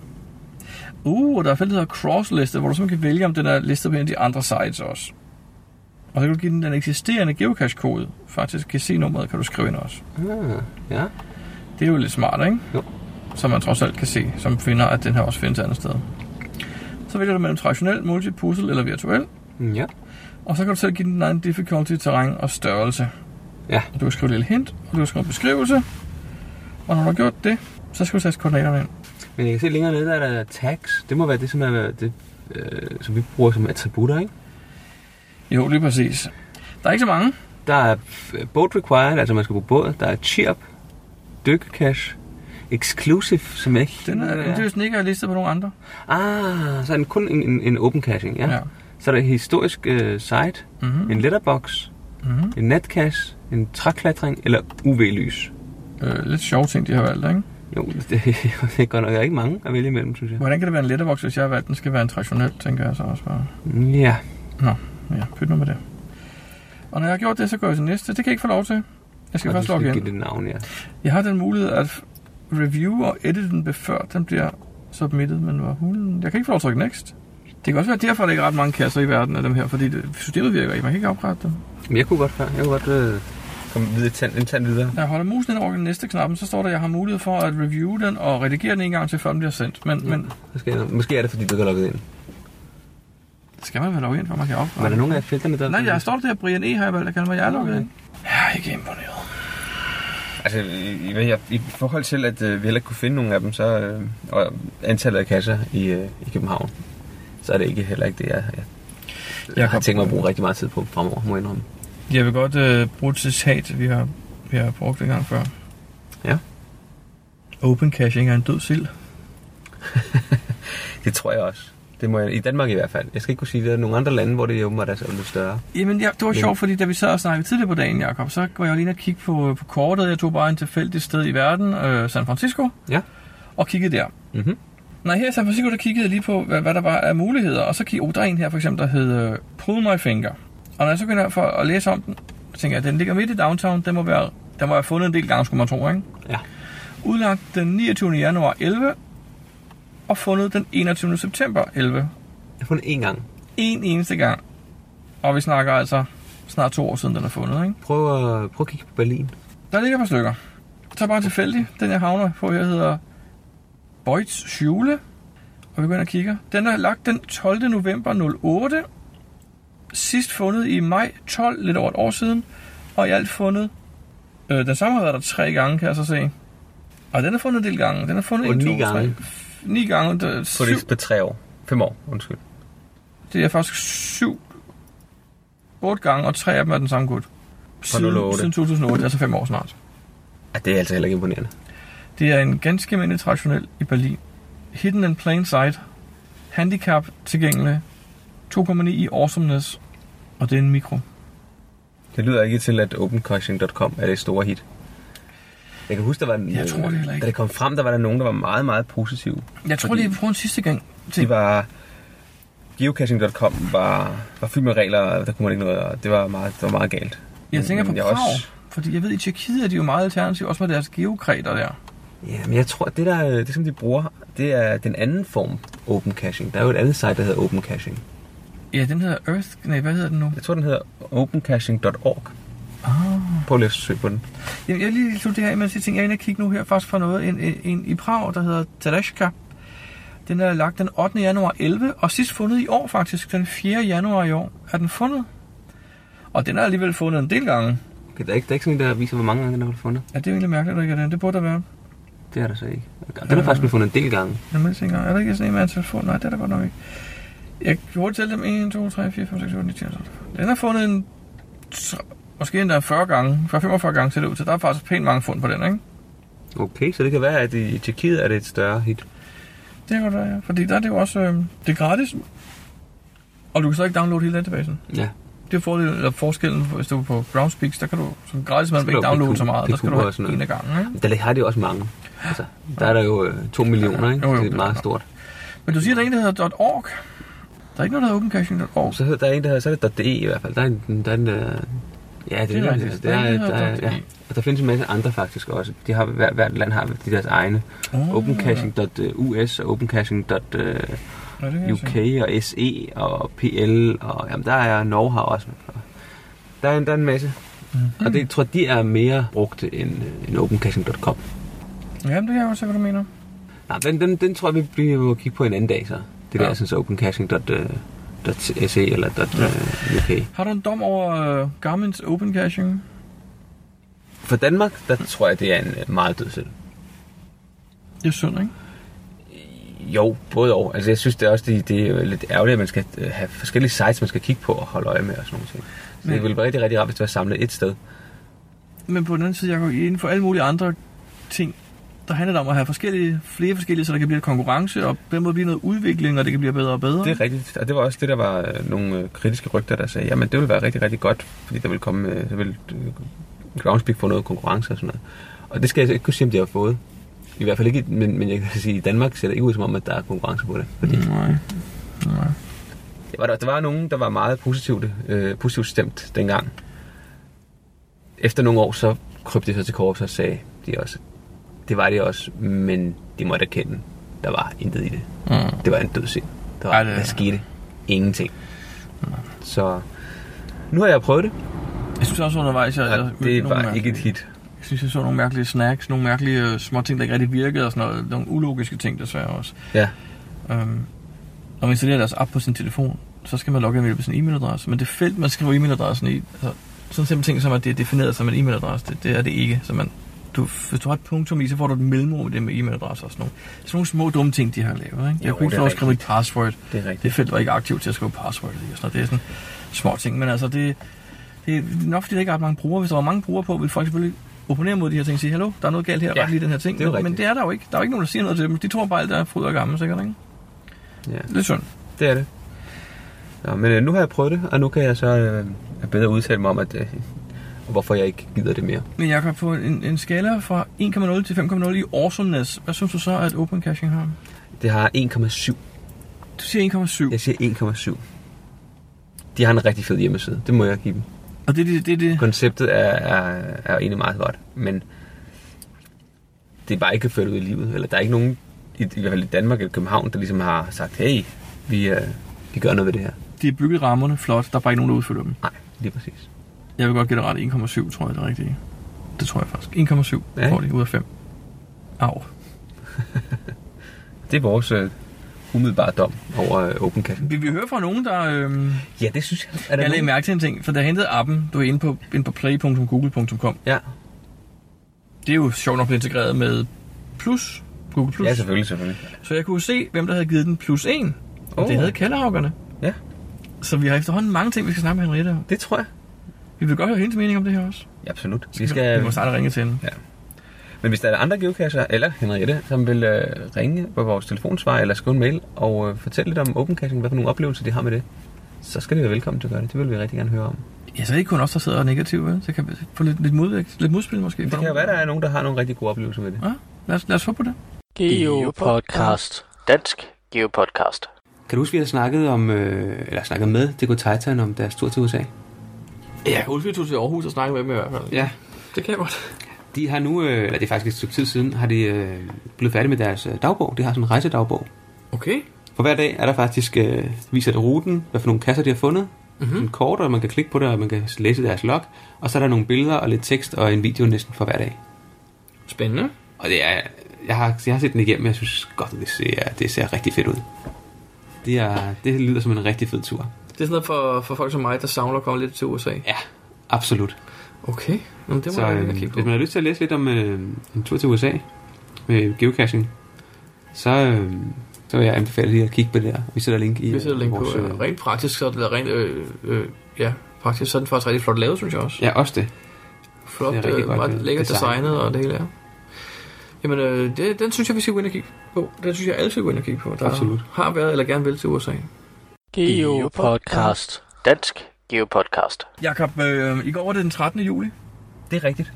Speaker 2: Uh, og der er et felt, der hedder Crossliste, hvor du simpelthen kan vælge, om den er listet på en af de andre sites også. Og så kan du give den den eksisterende geocache-kode. Faktisk kan se nummeret, kan du skrive ind også.
Speaker 1: Ah, ja.
Speaker 2: Det er jo lidt smart, ikke?
Speaker 1: Jo.
Speaker 2: Så man trods alt kan se, som finder, at den her også findes andet sted. Så vælger du mellem traditionel, multi, puzzle eller virtuel.
Speaker 1: Mm, Ja.
Speaker 2: Og så kan du selv give den din egen difficulty, terræn og størrelse.
Speaker 1: Ja.
Speaker 2: Og du kan skrive et lille hint, og du kan skrive en beskrivelse. Og når du har gjort det, så skal du sætte koordinaterne ind.
Speaker 1: Men jeg kan se længere nede, der er der tags. Det må være det, som, er, det, øh, som vi bruger som attributter, ikke?
Speaker 2: Jo, lige præcis. Der er ikke så mange.
Speaker 1: Der er øh, boat required, altså man skal bruge båd. Der er chirp, dykkecash, exclusive, som jeg ikke...
Speaker 2: Den er, ja. Det er jo sådan ikke er listet på nogen andre.
Speaker 1: Ah, så er den kun en, en, en open caching, ja.
Speaker 2: Ja.
Speaker 1: ja. Så er der et historisk øh, site,
Speaker 2: Mm-hmm.
Speaker 1: en letterbox,
Speaker 2: Mm-hmm.
Speaker 1: en natcache, en træklatring eller UV-lys.
Speaker 2: Øh, lidt sjove ting, de har valgt, ikke?
Speaker 1: Jo, *laughs* det, det er godt nok der er ikke mange at vælge imellem, synes jeg.
Speaker 2: Hvordan kan det være en letterbox, hvis jeg har valgt, den skal være en traditionel, tænker jeg så også bare.
Speaker 1: Mm, Ja,
Speaker 2: Nå, ja, pyt nu med det. Og når jeg har gjort det, så går jeg til næste. Det kan jeg ikke få lov til. Jeg skal
Speaker 1: og du
Speaker 2: først logge
Speaker 1: give
Speaker 2: ind.
Speaker 1: det navn, ja.
Speaker 2: Jeg har den mulighed at f- review og edit den, før den bliver submitted, men hvor hulen... Jeg kan ikke få lov at trykke next. Det kan også være derfor, der ikke er ret mange kasser i verden af dem her, fordi det, systemet virker ikke. Man kan ikke oprette dem.
Speaker 1: Men jeg kunne godt før. Jeg kunne godt øh, komme videre, tand, en tand videre.
Speaker 2: Når jeg holder musen ind over den næste knappen, så står der, at jeg har mulighed for at review den og redigere den en gang til, før den bliver sendt. Men, ja. men
Speaker 1: Måske, måske er det, fordi du ikke har logget ind.
Speaker 2: skal man vel logge ind, for man kan oprette
Speaker 1: Var der nogen af felterne, der...
Speaker 2: Nej, jeg står der, Brian E. har jeg valgt, der kalder mig, jeg er logget ind. Jeg er ikke imponeret.
Speaker 1: Altså, i, i, i forhold til, at øh, vi heller ikke kunne finde nogen af dem, så, øh, og antallet af kasser i, øh, i København, så er det ikke heller ikke det, jeg, jeg, jeg har
Speaker 2: kan-
Speaker 1: tænkt mig at bruge rigtig meget tid på fremover, må jeg indrømme.
Speaker 2: Jeg vil godt øh, bruge et citat, vi har, vi har brugt en gang før.
Speaker 1: Ja.
Speaker 2: Open caching er en død sild.
Speaker 1: Det tror jeg også. Det må jeg, I Danmark i hvert fald. Jeg skal ikke kunne sige, at der er nogle andre lande, hvor det åbenbart er så lidt større.
Speaker 2: Jamen, ja, det var
Speaker 1: Men-
Speaker 2: sjovt, fordi da vi sad og snakkede tidligere på dagen, Jacob, så var jeg lige inde og kigge på, på kortet. Jeg tog bare en tilfældig sted i verden, øh, San Francisco,
Speaker 1: Ja.
Speaker 2: og kiggede der.
Speaker 1: Mm-hmm.
Speaker 2: Nej, her i San Francisco, der kiggede jeg lige på, hvad, hvad der var af muligheder, og så kiggede oh, der er en her for eksempel, der hed øh, Pull My Finger. Og når jeg så går ind for at læse om den, så tænker jeg, at den ligger midt i downtown, den må være, den må være fundet en del gange, skulle man tro, ikke?
Speaker 1: Ja.
Speaker 2: Udlagt den 29. januar 11, og fundet den 21. september 11.
Speaker 1: Jeg har fundet én gang.
Speaker 2: En eneste gang. Og vi snakker altså snart to år siden, den er fundet, ikke?
Speaker 1: Prøv at, prøv at kigge på Berlin.
Speaker 2: Der ligger et par stykker. Så bare tilfældigt. Den, jeg havner på her, hedder Boyds Schule. Og vi går ind og kigger. Den er lagt den 12. november 08. Sidst fundet i maj 12, lidt over et år siden. Og i alt fundet... Øh, den samme har været der tre gange, kan jeg så se. Og den er fundet en del gange. Den er fundet
Speaker 4: Og
Speaker 2: en,
Speaker 4: ni
Speaker 2: to,
Speaker 4: gange.
Speaker 2: Tre, f- ni gange. Det er,
Speaker 1: På
Speaker 2: syv,
Speaker 1: de på tre år. Fem år, undskyld.
Speaker 2: det er faktisk syv... Otte gange, og tre af dem er den samme gut. Siden,
Speaker 1: 08.
Speaker 2: siden 2008, altså fem år snart.
Speaker 4: Ej, det er altså heller ikke imponerende.
Speaker 2: Det er en ganske mindre traditionel i Berlin. Hidden in plain sight. Handicap tilgængelig. 2,9 i awesomeness. Og det er en mikro.
Speaker 1: Det lyder ikke til, at opencoaching.com er det store hit. Jeg kan huske, der var en,
Speaker 2: Jeg tror det heller ikke.
Speaker 1: da det kom frem, der var der nogen, der var meget, meget positive.
Speaker 2: Jeg tror
Speaker 1: Fordi-
Speaker 2: lige, vi prøver en sidste gang.
Speaker 1: De
Speaker 2: Til.
Speaker 1: var... Geocaching.com var, var fyldt med regler, og der kunne man ikke noget, og det var meget, det var meget galt.
Speaker 2: Jeg tænker på
Speaker 1: Men jeg
Speaker 2: Prag.
Speaker 1: er
Speaker 2: Også...
Speaker 1: også-
Speaker 2: Fordi jeg ved, i Tjekkiet er de jo meget alternative, også med deres geokræter der.
Speaker 4: Ja,
Speaker 1: Men jeg tror, at det, der, det som de bruger, det er den anden form
Speaker 4: Open caching. Der er jo et andet site, der hedder open caching.
Speaker 2: Ja, den hedder Earth... Nej, hvad hedder den nu?
Speaker 1: Jeg tror, den hedder opencaching.org.
Speaker 2: Ah.
Speaker 1: Oh. Prøv lige at søge på den.
Speaker 2: Jamen, jeg vil lige slutte det her af med at sige ting. Jeg er inde og kigge nu her faktisk fra noget. En, en, en i Prag, der hedder Tadashka. Den er lagt den 8. januar 11, og sidst fundet i år faktisk, den 4. januar i år, er den fundet. Og den er alligevel fundet en del gange.
Speaker 4: Okay, der, er ikke, der er ikke sådan en, der viser, hvor mange gange den er blevet fundet.
Speaker 2: Ja, det er egentlig mærkeligt, at der ikke er den. Det burde der være.
Speaker 4: Det er der så ikke. Den er faktisk blevet fundet en del gange.
Speaker 2: Jeg mindst ikke engang. Er der ikke sådan en med en telefon? Nej, det er der godt nok ikke. Jeg gjorde til dem 1, 2, 3, 4, 5, 6, 7, 8, 9, 10, 11. Den er fundet en... tr- Måske endda 40 gange. 45 gange ser det ud til. Der er faktisk pænt mange fund på den, ikke?
Speaker 4: Okay, så det kan være, at i Tjekkiet er det et større hit.
Speaker 2: Det kan godt være, ja. Fordi der er det jo også... Øh, det er gratis. Og du kan så ikke downloade hele databasen.
Speaker 4: Ja.
Speaker 2: Det er fordelen, eller forskellen, hvis du er på Groundspeaks, der kan du som gratis man
Speaker 4: Skal
Speaker 2: ikke
Speaker 4: du have
Speaker 2: downloade
Speaker 4: PQ
Speaker 2: så meget. Der skal du
Speaker 4: og sådan
Speaker 2: have
Speaker 4: noget.
Speaker 2: en af gangen, ikke?
Speaker 4: Der har de jo også mange. Altså, der er der jo øh, to millioner, ikke?
Speaker 2: Jo, jo,
Speaker 4: det er meget
Speaker 2: det er
Speaker 4: stort.
Speaker 2: Men du siger, der er en, der hedder .org. Der er ikke noget, der hedder opencaching.org.
Speaker 4: Så hedder der er en, der hedder, så er det .de i hvert fald. Der er en, der er en, der, ja, det,
Speaker 2: Det er
Speaker 4: er
Speaker 2: rigtigt.
Speaker 4: det, der, er,
Speaker 2: Der er en, der
Speaker 4: der,
Speaker 2: hedder
Speaker 4: er,
Speaker 2: .de.
Speaker 4: ja. Og der findes en masse andre faktisk også. De har, hver, hvert land har de deres egne.
Speaker 2: Ah.
Speaker 4: Opencaching.us og opencaching.uk
Speaker 2: Nå, det kan jeg se.
Speaker 4: og SE og PL og jamen, der er Norge har også. Der er en, der er en masse.
Speaker 2: Mhm.
Speaker 4: Mm-hmm. Og det jeg tror de er mere brugte end, øh, end opencaching.com.
Speaker 2: Jamen, det kan jeg også se, hvad du mener.
Speaker 4: Nej, den, den, den tror jeg, vi bliver må kigge på en anden dag, så. øh, Det der,
Speaker 2: Ja.
Speaker 4: ja. synes opencaching.se eller dot, øh, .uk.
Speaker 2: Har du en dom over øh, Garmin's open caching?
Speaker 1: For Danmark, der tror jeg, det er en øh, meget dødsel.
Speaker 2: Det er synd, ikke?
Speaker 1: Jo, både og. Altså, jeg synes det er også, det, det er jo lidt ærgerligt, at man skal øh, have forskellige sites, man skal kigge på og holde øje med og sådan nogle ting. Så
Speaker 2: Men-
Speaker 1: det ville være rigtig, rigtig rart, hvis det var samlet et sted.
Speaker 2: Men på den anden side, jeg går inden for alle mulige andre ting, der handler det om at have forskellige, flere forskellige, så der kan blive lidt konkurrence, og på den måde blive noget udvikling, og det kan blive bedre og bedre.
Speaker 1: Det er rigtigt, og det var også det, der var øh, nogle øh, kritiske rygter, der sagde, jamen det ville være rigtig, rigtig godt, fordi der ville komme, øh, så ville øh, Groundspeak få noget konkurrence og sådan noget. Og det skal jeg altså ikke kunne sige, om de har fået. I hvert fald ikke, men, men jeg kan sige, at i Danmark ser det ikke ud som om, at der er konkurrence på det. Fordi
Speaker 2: Nej. Nej.
Speaker 1: det var, der, der var nogen, der var meget positivt, øh, positivt stemt dengang. Efter nogle år, så kryb de så til korps og sagde de også, det var det også, men de måtte erkende, der var intet i det.
Speaker 2: Mm.
Speaker 1: Det var en dødsind. Der, var,
Speaker 2: Ej,
Speaker 1: Ej,
Speaker 2: det-
Speaker 1: det... der skete ingenting. Så nu har jeg prøvet det,
Speaker 2: Jeg synes også undervejs, jeg, jeg
Speaker 1: og
Speaker 2: mødte
Speaker 1: det
Speaker 2: nogle
Speaker 1: var ikke
Speaker 2: mærkelige-
Speaker 1: et hit.
Speaker 2: Jeg synes, jeg så nogle mærkelige snacks, nogle mærkelige øh, små ting, der ikke rigtig virkede, og sådan noget. Nogle ulogiske ting, desværre også.
Speaker 1: Ja.
Speaker 2: Øhm, når man installerer deres app på sin telefon, så skal man logge ind ved sin e-mailadresse. Men det felt, man skriver e-mailadressen i, altså, sådan en simpel ting som, at det er defineret som en e-mailadresse, det, det er det ikke. Så man, du, hvis du har et punktum i, så får du et mellemrum i det med e-mailadresse og sådan nogle. Sådan nogle små dumme ting, de har lavet. Ikke? Jeg
Speaker 1: Jo,
Speaker 2: kunne
Speaker 1: det
Speaker 2: ikke få
Speaker 1: er
Speaker 2: lov at skrive et password.
Speaker 1: Det er rigtigt.
Speaker 2: Det felt var ikke aktivt til at skrive password i. Og sådan noget. Det er sådan små ting. Men altså, det, det er nok fordi, der ikke er ret mange brugere. Hvis der var mange brugere på, ville folk selvfølgelig opponere mod de her ting og sige, hallo, der er noget galt her,
Speaker 1: Ja,
Speaker 2: ja, lige den her ting.
Speaker 1: det er jo
Speaker 2: men, men
Speaker 1: rigtigt.
Speaker 2: det er der jo ikke. Der er jo ikke nogen, der siger noget til dem. De tror bare, at der er fryd og gammel, sikkert, ikke?
Speaker 1: Ja.
Speaker 2: Lidt synd.
Speaker 1: Det er det. Nå, men øh, nu har jeg prøvet det, og nu kan jeg så øh, bedre udtale mig om, at, øh, hvorfor jeg ikke gider det mere.
Speaker 2: Men Jacob, på en, en skala fra 1,0 til 5,0 i awesomeness, hvad synes du så, at open caching har?
Speaker 1: Det har 1,7.
Speaker 2: Du siger 1,7,
Speaker 1: Jeg
Speaker 2: yes.
Speaker 1: siger 1,7. De har en rigtig fed hjemmeside, det må jeg give dem.
Speaker 2: og det er det, det, det.
Speaker 1: Konceptet er, er, er egentlig meget godt, men det er bare ikke ført ud i livet. Eller der er ikke nogen, i, i hvert fald i Danmark eller København, der ligesom har sagt, hey, vi, øh, vi gør noget ved det her.
Speaker 2: De er bygget rammerne flot, der er bare ikke nogen, der udfylder dem.
Speaker 1: Nej, lige præcis.
Speaker 2: Jeg vil godt gætte ret, 1,7 tror jeg det er rigtigt. Det tror jeg faktisk. 1,7
Speaker 1: Ja,
Speaker 2: får
Speaker 1: ikke?
Speaker 2: de ud af 5. Au.
Speaker 5: Det er vores øh, umiddelbare dom over øh, Open Cache.
Speaker 2: Vi, vi hører fra nogen, der... Øh,
Speaker 5: Ja, det synes jeg. Er der
Speaker 2: jeg lagde
Speaker 5: nogen-
Speaker 2: mærke til en ting, for der hentede appen, du er inde på, inde på play.google.com.
Speaker 5: Ja.
Speaker 2: Det er jo sjovt nok blevet integreret med Plus, Google Plus.
Speaker 5: ja, selvfølgelig, selvfølgelig.
Speaker 2: Så jeg kunne se, hvem der havde givet den plus en. Og oh.
Speaker 5: Oh.
Speaker 2: det havde Kalderhavgerne.
Speaker 5: Ja.
Speaker 2: Så vi har efterhånden mange ting, vi skal snakke med Henriette om.
Speaker 5: Det tror jeg.
Speaker 2: Vi vil godt høre hendes mening om det her også.
Speaker 5: Ja, absolut. Vi
Speaker 2: Vi
Speaker 5: skal,
Speaker 2: må starte at ringe til hende.
Speaker 5: men hvis der er andre geocacher, eller Henriette, som vil øh, ringe på vores telefonsvar eller skrive en mail og øh, fortælle lidt om open caching, hvad for nogle oplevelser de har med det, så skal de være velkommen til at gøre det. Det vil vi rigtig gerne høre om.
Speaker 2: Ja, så er det ikke kun os, der sidder og er negativ, vel? Så kan vi få lidt, lidt, modvægt, lidt modspil måske.
Speaker 5: Det kan jo være, der er nogen, der har nogle rigtig gode oplevelser med det.
Speaker 2: Ja, lad os, lad os håbe på det.
Speaker 3: Geopodcast. Dansk Geopodcast.
Speaker 1: Kan du huske, vi har snakket, om, øh, eller snakket med DK Titan om deres tur til USA?
Speaker 2: Ja, Ulfie tog til Aarhus og snakkede med dem i hvert fald.
Speaker 1: Ja.
Speaker 2: Det kan jeg godt.
Speaker 1: De har nu, øh, eller det er faktisk et stykke tid siden, har de øh, blevet færdige med deres øh, dagbog. De har sådan en rejsedagbog.
Speaker 2: Okay.
Speaker 1: For hver dag er der faktisk, øh, viser det ruten, hvad for nogle kasser de har fundet.
Speaker 2: Mhm.
Speaker 1: Mm-hmm. En kort, og man kan klikke på det, og man kan læse deres log. Og så er der nogle billeder og lidt tekst og en video næsten for hver dag.
Speaker 2: Spændende.
Speaker 1: Og det er, jeg har, jeg har set den igennem, og jeg synes godt, at det ser, det ser rigtig fedt ud. Det, er, det lyder som en rigtig fed tur.
Speaker 2: Det er sådan noget for, for folk som mig, der savner at komme lidt til USA.
Speaker 1: Ja, absolut.
Speaker 2: Okay. Jamen, det må
Speaker 1: Så
Speaker 2: jeg
Speaker 1: øh,
Speaker 2: øh, kigge
Speaker 1: hvis
Speaker 2: på.
Speaker 1: man har lyst til at læse lidt om øh, en tur til USA med geocaching, så, øh, så vil jeg anbefale lige at kigge på det der. Vi sætter link i
Speaker 2: Vi sætter
Speaker 1: øh,
Speaker 2: link på.
Speaker 1: vores, øh,
Speaker 2: Øh, rent praktisk, så er det lavet rent, øh, øh, ja, praktisk, så er den faktisk rigtig flot lavet, synes jeg også.
Speaker 1: Ja, også det.
Speaker 2: Flot,
Speaker 1: det er rigtig
Speaker 2: øh,
Speaker 1: godt,
Speaker 2: meget
Speaker 1: øh,
Speaker 2: lækkert
Speaker 1: design.
Speaker 2: designet og det hele er. Jamen, øh, det, den synes jeg, vi skal gå ind og kigge på. Den synes jeg, alle skal gå ind og kigge på. Der
Speaker 1: Absolut.
Speaker 2: har været eller gerne vil til USA.
Speaker 3: Geopodcast. Dansk Geopodcast.
Speaker 2: Jakob, øh, i går var det den 13. juli. *laughs*
Speaker 5: Det er rigtigt.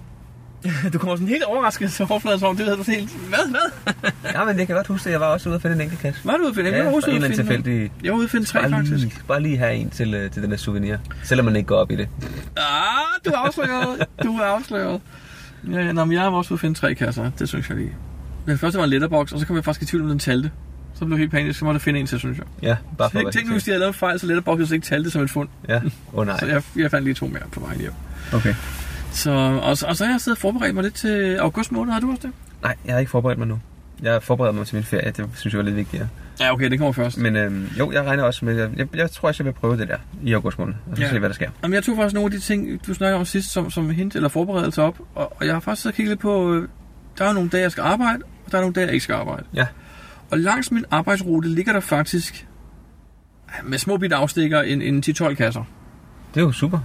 Speaker 2: Du kommer sådan helt overrasket til overfladen, som om det havde helt... Hvad, hvad?
Speaker 5: Ja, men det kan jeg godt huske, at jeg var også ude at finde en enkelt kasse.
Speaker 2: Var du ude at finde? Jeg var
Speaker 5: for
Speaker 2: også
Speaker 5: en
Speaker 2: ude
Speaker 5: eller
Speaker 2: at
Speaker 5: anden
Speaker 2: finde nogle.
Speaker 5: tilfældig...
Speaker 2: Jeg var ude at finde tre,
Speaker 5: Bare
Speaker 2: faktisk.
Speaker 5: lige, bare lige have en til, øh, til den der souvenir, selvom man ikke går op i det.
Speaker 2: Ah, du er afsløret. du er afsløret. Ja, ja, nå, men jeg har også fået finde tre kasser. Det synes jeg lige. Den første var en letterbox, og så kom jeg faktisk i tvivl om, den talte. Så blev jeg helt panisk, så måtte jeg finde en til, synes jeg.
Speaker 5: Ja, bare for at
Speaker 2: Tænk,
Speaker 5: være
Speaker 2: tænk nu,
Speaker 5: sikker.
Speaker 2: hvis de havde lavet en fejl, så letterbox ikke talte det som et fund.
Speaker 5: Ja, åh oh, nej.
Speaker 2: *laughs* Så jeg, jeg fandt lige to mere på vejen hjem.
Speaker 5: Okay.
Speaker 2: Så, og, så- og så har jeg siddet og forberedt mig lidt til august måned. Har du også det?
Speaker 5: Nej, jeg har ikke forberedt mig nu. Jeg forbereder mig til min ferie, det synes jeg var lidt vigtigere.
Speaker 2: Ja, okay, det kommer først.
Speaker 5: Men øhm, jo, jeg regner også med, jeg, jeg, jeg tror, jeg skal vil prøve det der i august måned, og så
Speaker 2: Ja.
Speaker 5: ja. se, hvad der sker.
Speaker 2: Jamen, jeg tog faktisk nogle af de ting, du snakkede om sidst, som, som hint eller forberedelse op. Og, og jeg har faktisk så kigget lidt på, øh, der er nogle dage, jeg skal arbejde, og der er nogle dage, jeg ikke skal arbejde.
Speaker 5: Ja.
Speaker 2: Og langs min arbejdsrute ligger der faktisk med små bitte afstikker en, en 10-12 kasser.
Speaker 5: Det er jo super.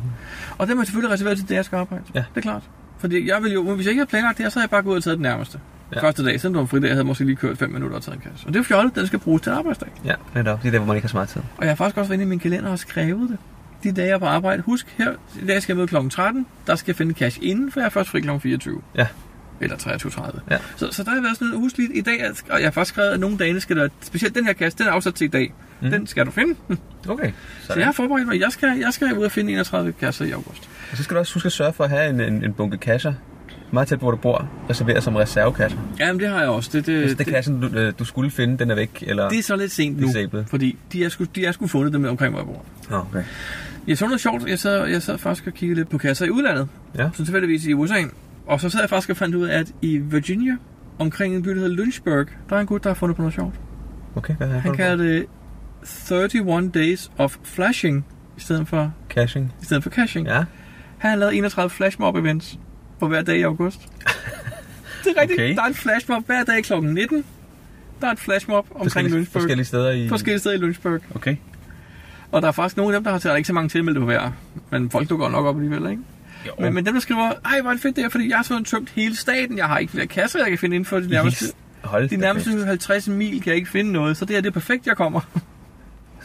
Speaker 2: Og dem er selvfølgelig reserveret til det, jeg skal arbejde.
Speaker 5: Ja.
Speaker 2: Det er klart. Fordi jeg ville jo, hvis jeg ikke havde planlagt det her, så havde jeg bare gået ud og taget den nærmeste. Ja.
Speaker 5: Ja.
Speaker 2: Første dag, selvom det var en fridag, havde jeg måske lige kørt 5 minutter og taget en kasse. Og det er fjollet, den skal bruges til en arbejdsdag.
Speaker 5: Ja, netop. Det er der, hvor man ikke har så meget tid.
Speaker 2: Og jeg har faktisk også været inde i min kalender og skrevet det. De dage, jeg er på arbejde. Husk, her, i dag skal jeg møde kl. 13. Der skal jeg finde cash inden, for jeg er først fri kl. 24.
Speaker 5: Ja.
Speaker 2: Eller 23.30.
Speaker 5: Ja.
Speaker 2: Så, så der har været sådan noget, husk lige i dag, at- og jeg har faktisk skrevet, at nogle dage skal der, specielt den her kasse, den er afsat til i dag. Mm. Den skal du finde. *laughs*
Speaker 5: Okay.
Speaker 2: Så jeg har forberedt mig. Jeg skal, jeg skal ud og finde 31 kasser i august.
Speaker 5: Og så skal du også huske at sørge for at have en, en, en bunke kasser, meget tæt på, hvor du bor, reserveret som reservekasser.
Speaker 2: Jamen, det har jeg også. Det,
Speaker 5: Hvis
Speaker 2: Øh, Altså, det,
Speaker 5: det er
Speaker 2: det,
Speaker 5: kassen, du, øh, du skulle finde, den er væk, eller...
Speaker 2: det er så lidt sent nu,
Speaker 5: Disabled.
Speaker 2: fordi de er, sgu, de er sgu fundet dem omkring, hvor jeg bor.
Speaker 5: Nå, okay.
Speaker 2: Jeg så noget sjovt. Jeg sad, jeg sad faktisk og kiggede lidt på kasser i udlandet.
Speaker 5: Ja.
Speaker 2: Så tilfældigvis i USA. Og så sad jeg faktisk og fandt ud af, at i Virginia, omkring en by, der hedder Lynchburg, der er en gut, der har fundet på noget sjovt.
Speaker 5: Okay, hvad har
Speaker 2: Han
Speaker 5: jeg
Speaker 2: kalder det 31 Days of Flashing, i stedet for,
Speaker 5: Caching.
Speaker 2: i stedet for caching.
Speaker 5: Ja,
Speaker 2: Han har lavet 31 flashmob events på hver dag i august.
Speaker 5: *laughs*
Speaker 2: det er rigtigt.
Speaker 5: Okay.
Speaker 2: Der er en flashmob hver dag kl. 19. Der er et flashmob omkring
Speaker 5: forskellige,
Speaker 2: Lynchburg.
Speaker 5: forskellige steder i...
Speaker 2: forskellige steder i Lynchburg.
Speaker 5: Okay.
Speaker 2: Og der er faktisk nogle af dem, der har taget der er ikke så mange tilmeldte på hver. Men folk dukker nok op alligevel, ikke?
Speaker 5: Jo.
Speaker 2: Men, men dem, der skriver, ej, hvor er det fedt det her, fordi jeg har sådan tømt hele staten. Jeg har ikke flere kasser, jeg kan finde inden for de nærmeste,
Speaker 5: Yes. Hold
Speaker 2: de
Speaker 5: da
Speaker 2: nærmeste
Speaker 5: fast.
Speaker 2: 50 mil, kan jeg ikke finde noget. Så det her, det er perfekt, jeg kommer.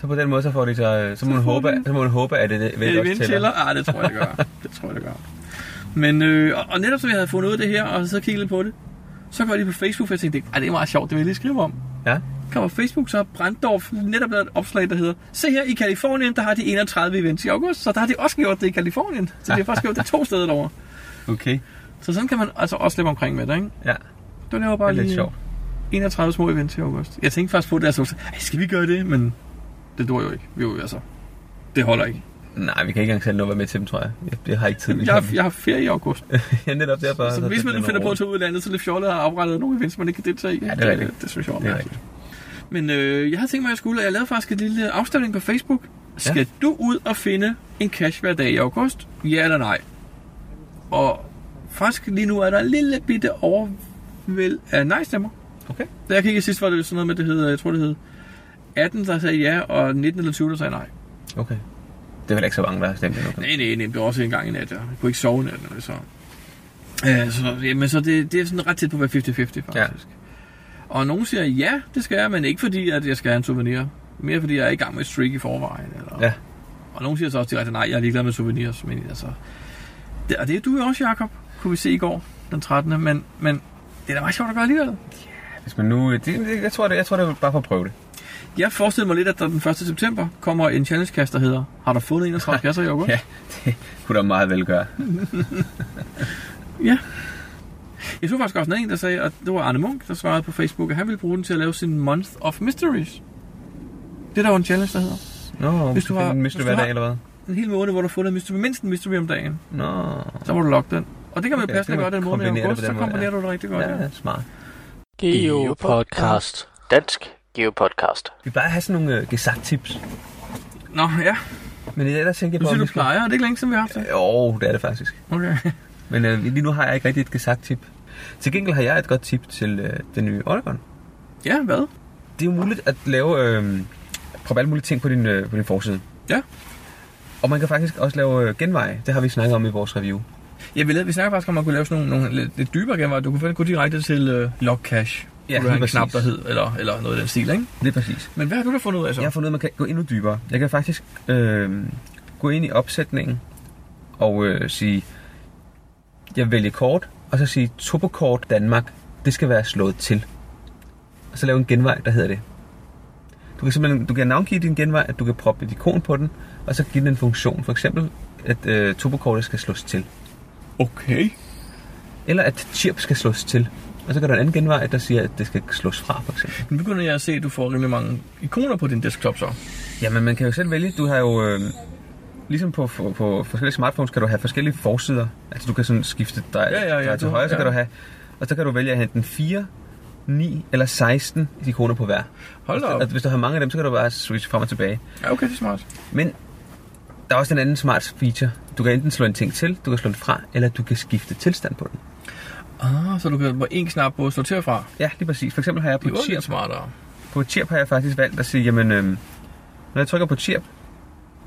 Speaker 5: Så på den måde, så får de så, øh, så må man håbe, at- så må man håbe, at det, det,
Speaker 2: Er
Speaker 5: det
Speaker 2: det
Speaker 5: også tæller.
Speaker 2: vindtæller? Ah, det tror jeg, det gør. det tror jeg, det gør. Men, øh, og, og netop så jeg havde fundet ud af det her, og så kigget lidt på det, så går jeg lige på Facebook, for jeg tænkte, ej, det er meget sjovt, det vil jeg lige skrive om.
Speaker 5: Ja.
Speaker 2: Kommer på Facebook, så har Branddorf netop lavet et opslag, der hedder, se her i Kalifornien, der har de 31 events i august, så der har de også gjort det i Kalifornien. Så de har faktisk gjort det to steder derovre.
Speaker 5: Okay.
Speaker 2: Så sådan kan man altså også slippe omkring med det, ikke?
Speaker 5: Ja,
Speaker 2: Du laver
Speaker 5: det
Speaker 2: bare
Speaker 5: er lidt
Speaker 2: lige
Speaker 5: sjovt.
Speaker 2: 31 små events i august. Jeg tænkte faktisk på det, altså, "Ej, skal vi gøre det? Men det dur jo ikke. Vi er jo altså, det holder ikke.
Speaker 5: Nej, vi kan ikke engang selv nå at være med til dem, tror jeg. Jeg, jeg har ikke tid.
Speaker 2: *laughs* Jeg, jeg har ferie i august.
Speaker 5: jeg er netop derfor.
Speaker 2: Så hvis man finder på at tage ud af landet, så er det fjollet at have oprettet nogle events, man ikke kan deltage i.
Speaker 5: Ja, det er rigtigt.
Speaker 2: Det, det synes jeg er
Speaker 5: Det er
Speaker 2: mærkeligt. Men øh, jeg havde tænkt mig, at jeg skulle, og jeg lavede faktisk en lille afstemning på Facebook. Skal ja. du ud og finde en cash hver dag i august? Ja eller nej? Og faktisk lige nu er der en lille bitte overvæld af nej-stemmer.
Speaker 1: Okay.
Speaker 2: Da jeg kiggede sidst, var det sådan noget med, det hedder, jeg tror det hed 18, der sagde ja, og 19 eller 20, der sagde nej.
Speaker 1: Okay. Det er vel ikke så mange, der har stemt endnu. kan man-
Speaker 2: Nej, nej, nej, det var også en gang i nat. Jeg kunne ikke sove i nat, når det så. Ja, så, jamen, så det, det er sådan ret tæt på at være 50-50, faktisk.
Speaker 1: Ja.
Speaker 2: Ja. Og nogen siger, ja, det skal jeg, men ikke fordi, at jeg skal have en souvenir. Mere fordi, jeg er i gang med et streak i forvejen. Eller...
Speaker 1: Ja.
Speaker 2: Og nogen siger så også direkte, nej, jeg er ligeglad med souvenirs. Men altså, det, og det er du jo også, Jacob, kunne vi se i går, den 13. Men, men det er da meget sjovt at gøre alligevel.
Speaker 1: Hvis man nu... øh, Det, det, jeg, tror, det, jeg tror, det er bare for at prøve det.
Speaker 2: Jeg forestiller mig lidt, at der den 1. september kommer en challenge-kast, der hedder, har du fundet 31 kasser i august?
Speaker 1: Ja, det kunne da meget vel gøre.
Speaker 2: Ja. Jeg så faktisk også en anden, der sagde, at det var Arne Munk, der svarede på Facebook, at han ville bruge den til at lave sin Month of Mysteries. Det er der jo en challenge, der hedder.
Speaker 1: Nå,
Speaker 2: Hvis
Speaker 1: hvis
Speaker 2: du
Speaker 1: du
Speaker 2: har-
Speaker 1: har... Hvis du
Speaker 2: hvis du
Speaker 1: hver
Speaker 2: har-
Speaker 1: dag, eller hvad?
Speaker 2: En hel måned, hvor du har fundet mystery, mindst en mystery om dagen.
Speaker 1: Nå.
Speaker 2: Så må du logge den. Og det kan man
Speaker 1: Okay,
Speaker 2: okay, passende
Speaker 1: det kan
Speaker 2: gøre
Speaker 1: man
Speaker 2: den måned i
Speaker 1: kombinere det
Speaker 2: august,
Speaker 1: på
Speaker 2: så
Speaker 1: den måde,
Speaker 2: kombinerer
Speaker 1: ja.
Speaker 2: du det rigtig godt. Ja.
Speaker 1: Ja, smart.
Speaker 3: Geo Podcast. Dansk Geo Podcast.
Speaker 1: Vi plejer at have sådan nogle øh, gesagt-tips.
Speaker 2: Nå ja,
Speaker 1: Men ellers tænker jeg
Speaker 2: du
Speaker 1: på,
Speaker 2: siger,
Speaker 1: om
Speaker 2: du
Speaker 1: vi skal-
Speaker 2: plejer, og det er ikke længe siden, vi har haft det.
Speaker 1: Jo, det er det faktisk.
Speaker 2: Okay. *laughs*
Speaker 1: Men øh, lige nu har jeg ikke rigtig et gesagt-tip. Til gengæld har jeg et godt tip til øh, den nye Oregon.
Speaker 2: Ja, hvad?
Speaker 1: Det er jo muligt at lave... Øh, prøve alle mulige ting på din, øh, på din forside.
Speaker 2: Ja.
Speaker 1: Og man kan faktisk også lave øh, genveje. Det har vi snakket om i vores review.
Speaker 2: Jeg vil, vi snakker faktisk om, at man kunne lave sådan nogle, nogle lidt, lidt dybere genveje. Du kunne faktisk gå direkte til uh, log cache.
Speaker 1: Ja,
Speaker 2: Ja, du
Speaker 1: lige
Speaker 2: have en
Speaker 1: præcis.
Speaker 2: knap, der hed, eller, eller noget af den stil, ikke?
Speaker 1: Det er præcis.
Speaker 2: Men hvad har du da fundet ud af så?
Speaker 1: Jeg har fundet, at man kan gå endnu dybere. Jeg kan faktisk øh, gå ind i opsætningen og øh, sige, jeg vælger kort, og så sige, Topokort Danmark, det skal være slået til. Og så lave en genvej, der hedder det. Du kan simpelthen du kan navngive din genvej, at du kan proppe et ikon på den, og så give den en funktion. For eksempel, at øh, Topokortet skal slås til.
Speaker 2: Okay.
Speaker 1: Eller at chirp skal slås til. Og så kan der en anden genvej, der siger, at det skal slås fra, for eksempel.
Speaker 2: Nu begynder jeg at se, at du får rimelig mange ikoner på din desktop så.
Speaker 1: Jamen, man kan jo selv vælge. Du har jo... Øh, ligesom på, på, på forskellige smartphones kan du have forskellige forsider. Altså, du kan sådan skifte dig,
Speaker 2: Ja, ja, ja,
Speaker 1: dig til
Speaker 2: du har-
Speaker 1: højre, så
Speaker 2: ja.
Speaker 1: kan du have... Og så kan du vælge at have den 4, 9 eller 16 ikoner på hver.
Speaker 2: Hold da op.
Speaker 1: Altså, hvis du har mange af dem, så kan du bare switche frem og tilbage.
Speaker 2: Ja, okay, det er smart.
Speaker 1: Men der er også en anden smart feature. Du kan enten slå en ting til, du kan slå den fra, eller du kan skifte tilstand på den.
Speaker 2: Ah, så du kan på en knap på sortere fra.
Speaker 1: Ja, lige præcis. For eksempel har jeg på
Speaker 2: Det er jo lidt
Speaker 1: Chirp,
Speaker 2: smartere.
Speaker 1: på Chirp har jeg faktisk valgt at sige, jamen, øhm, når jeg trykker på Chirp,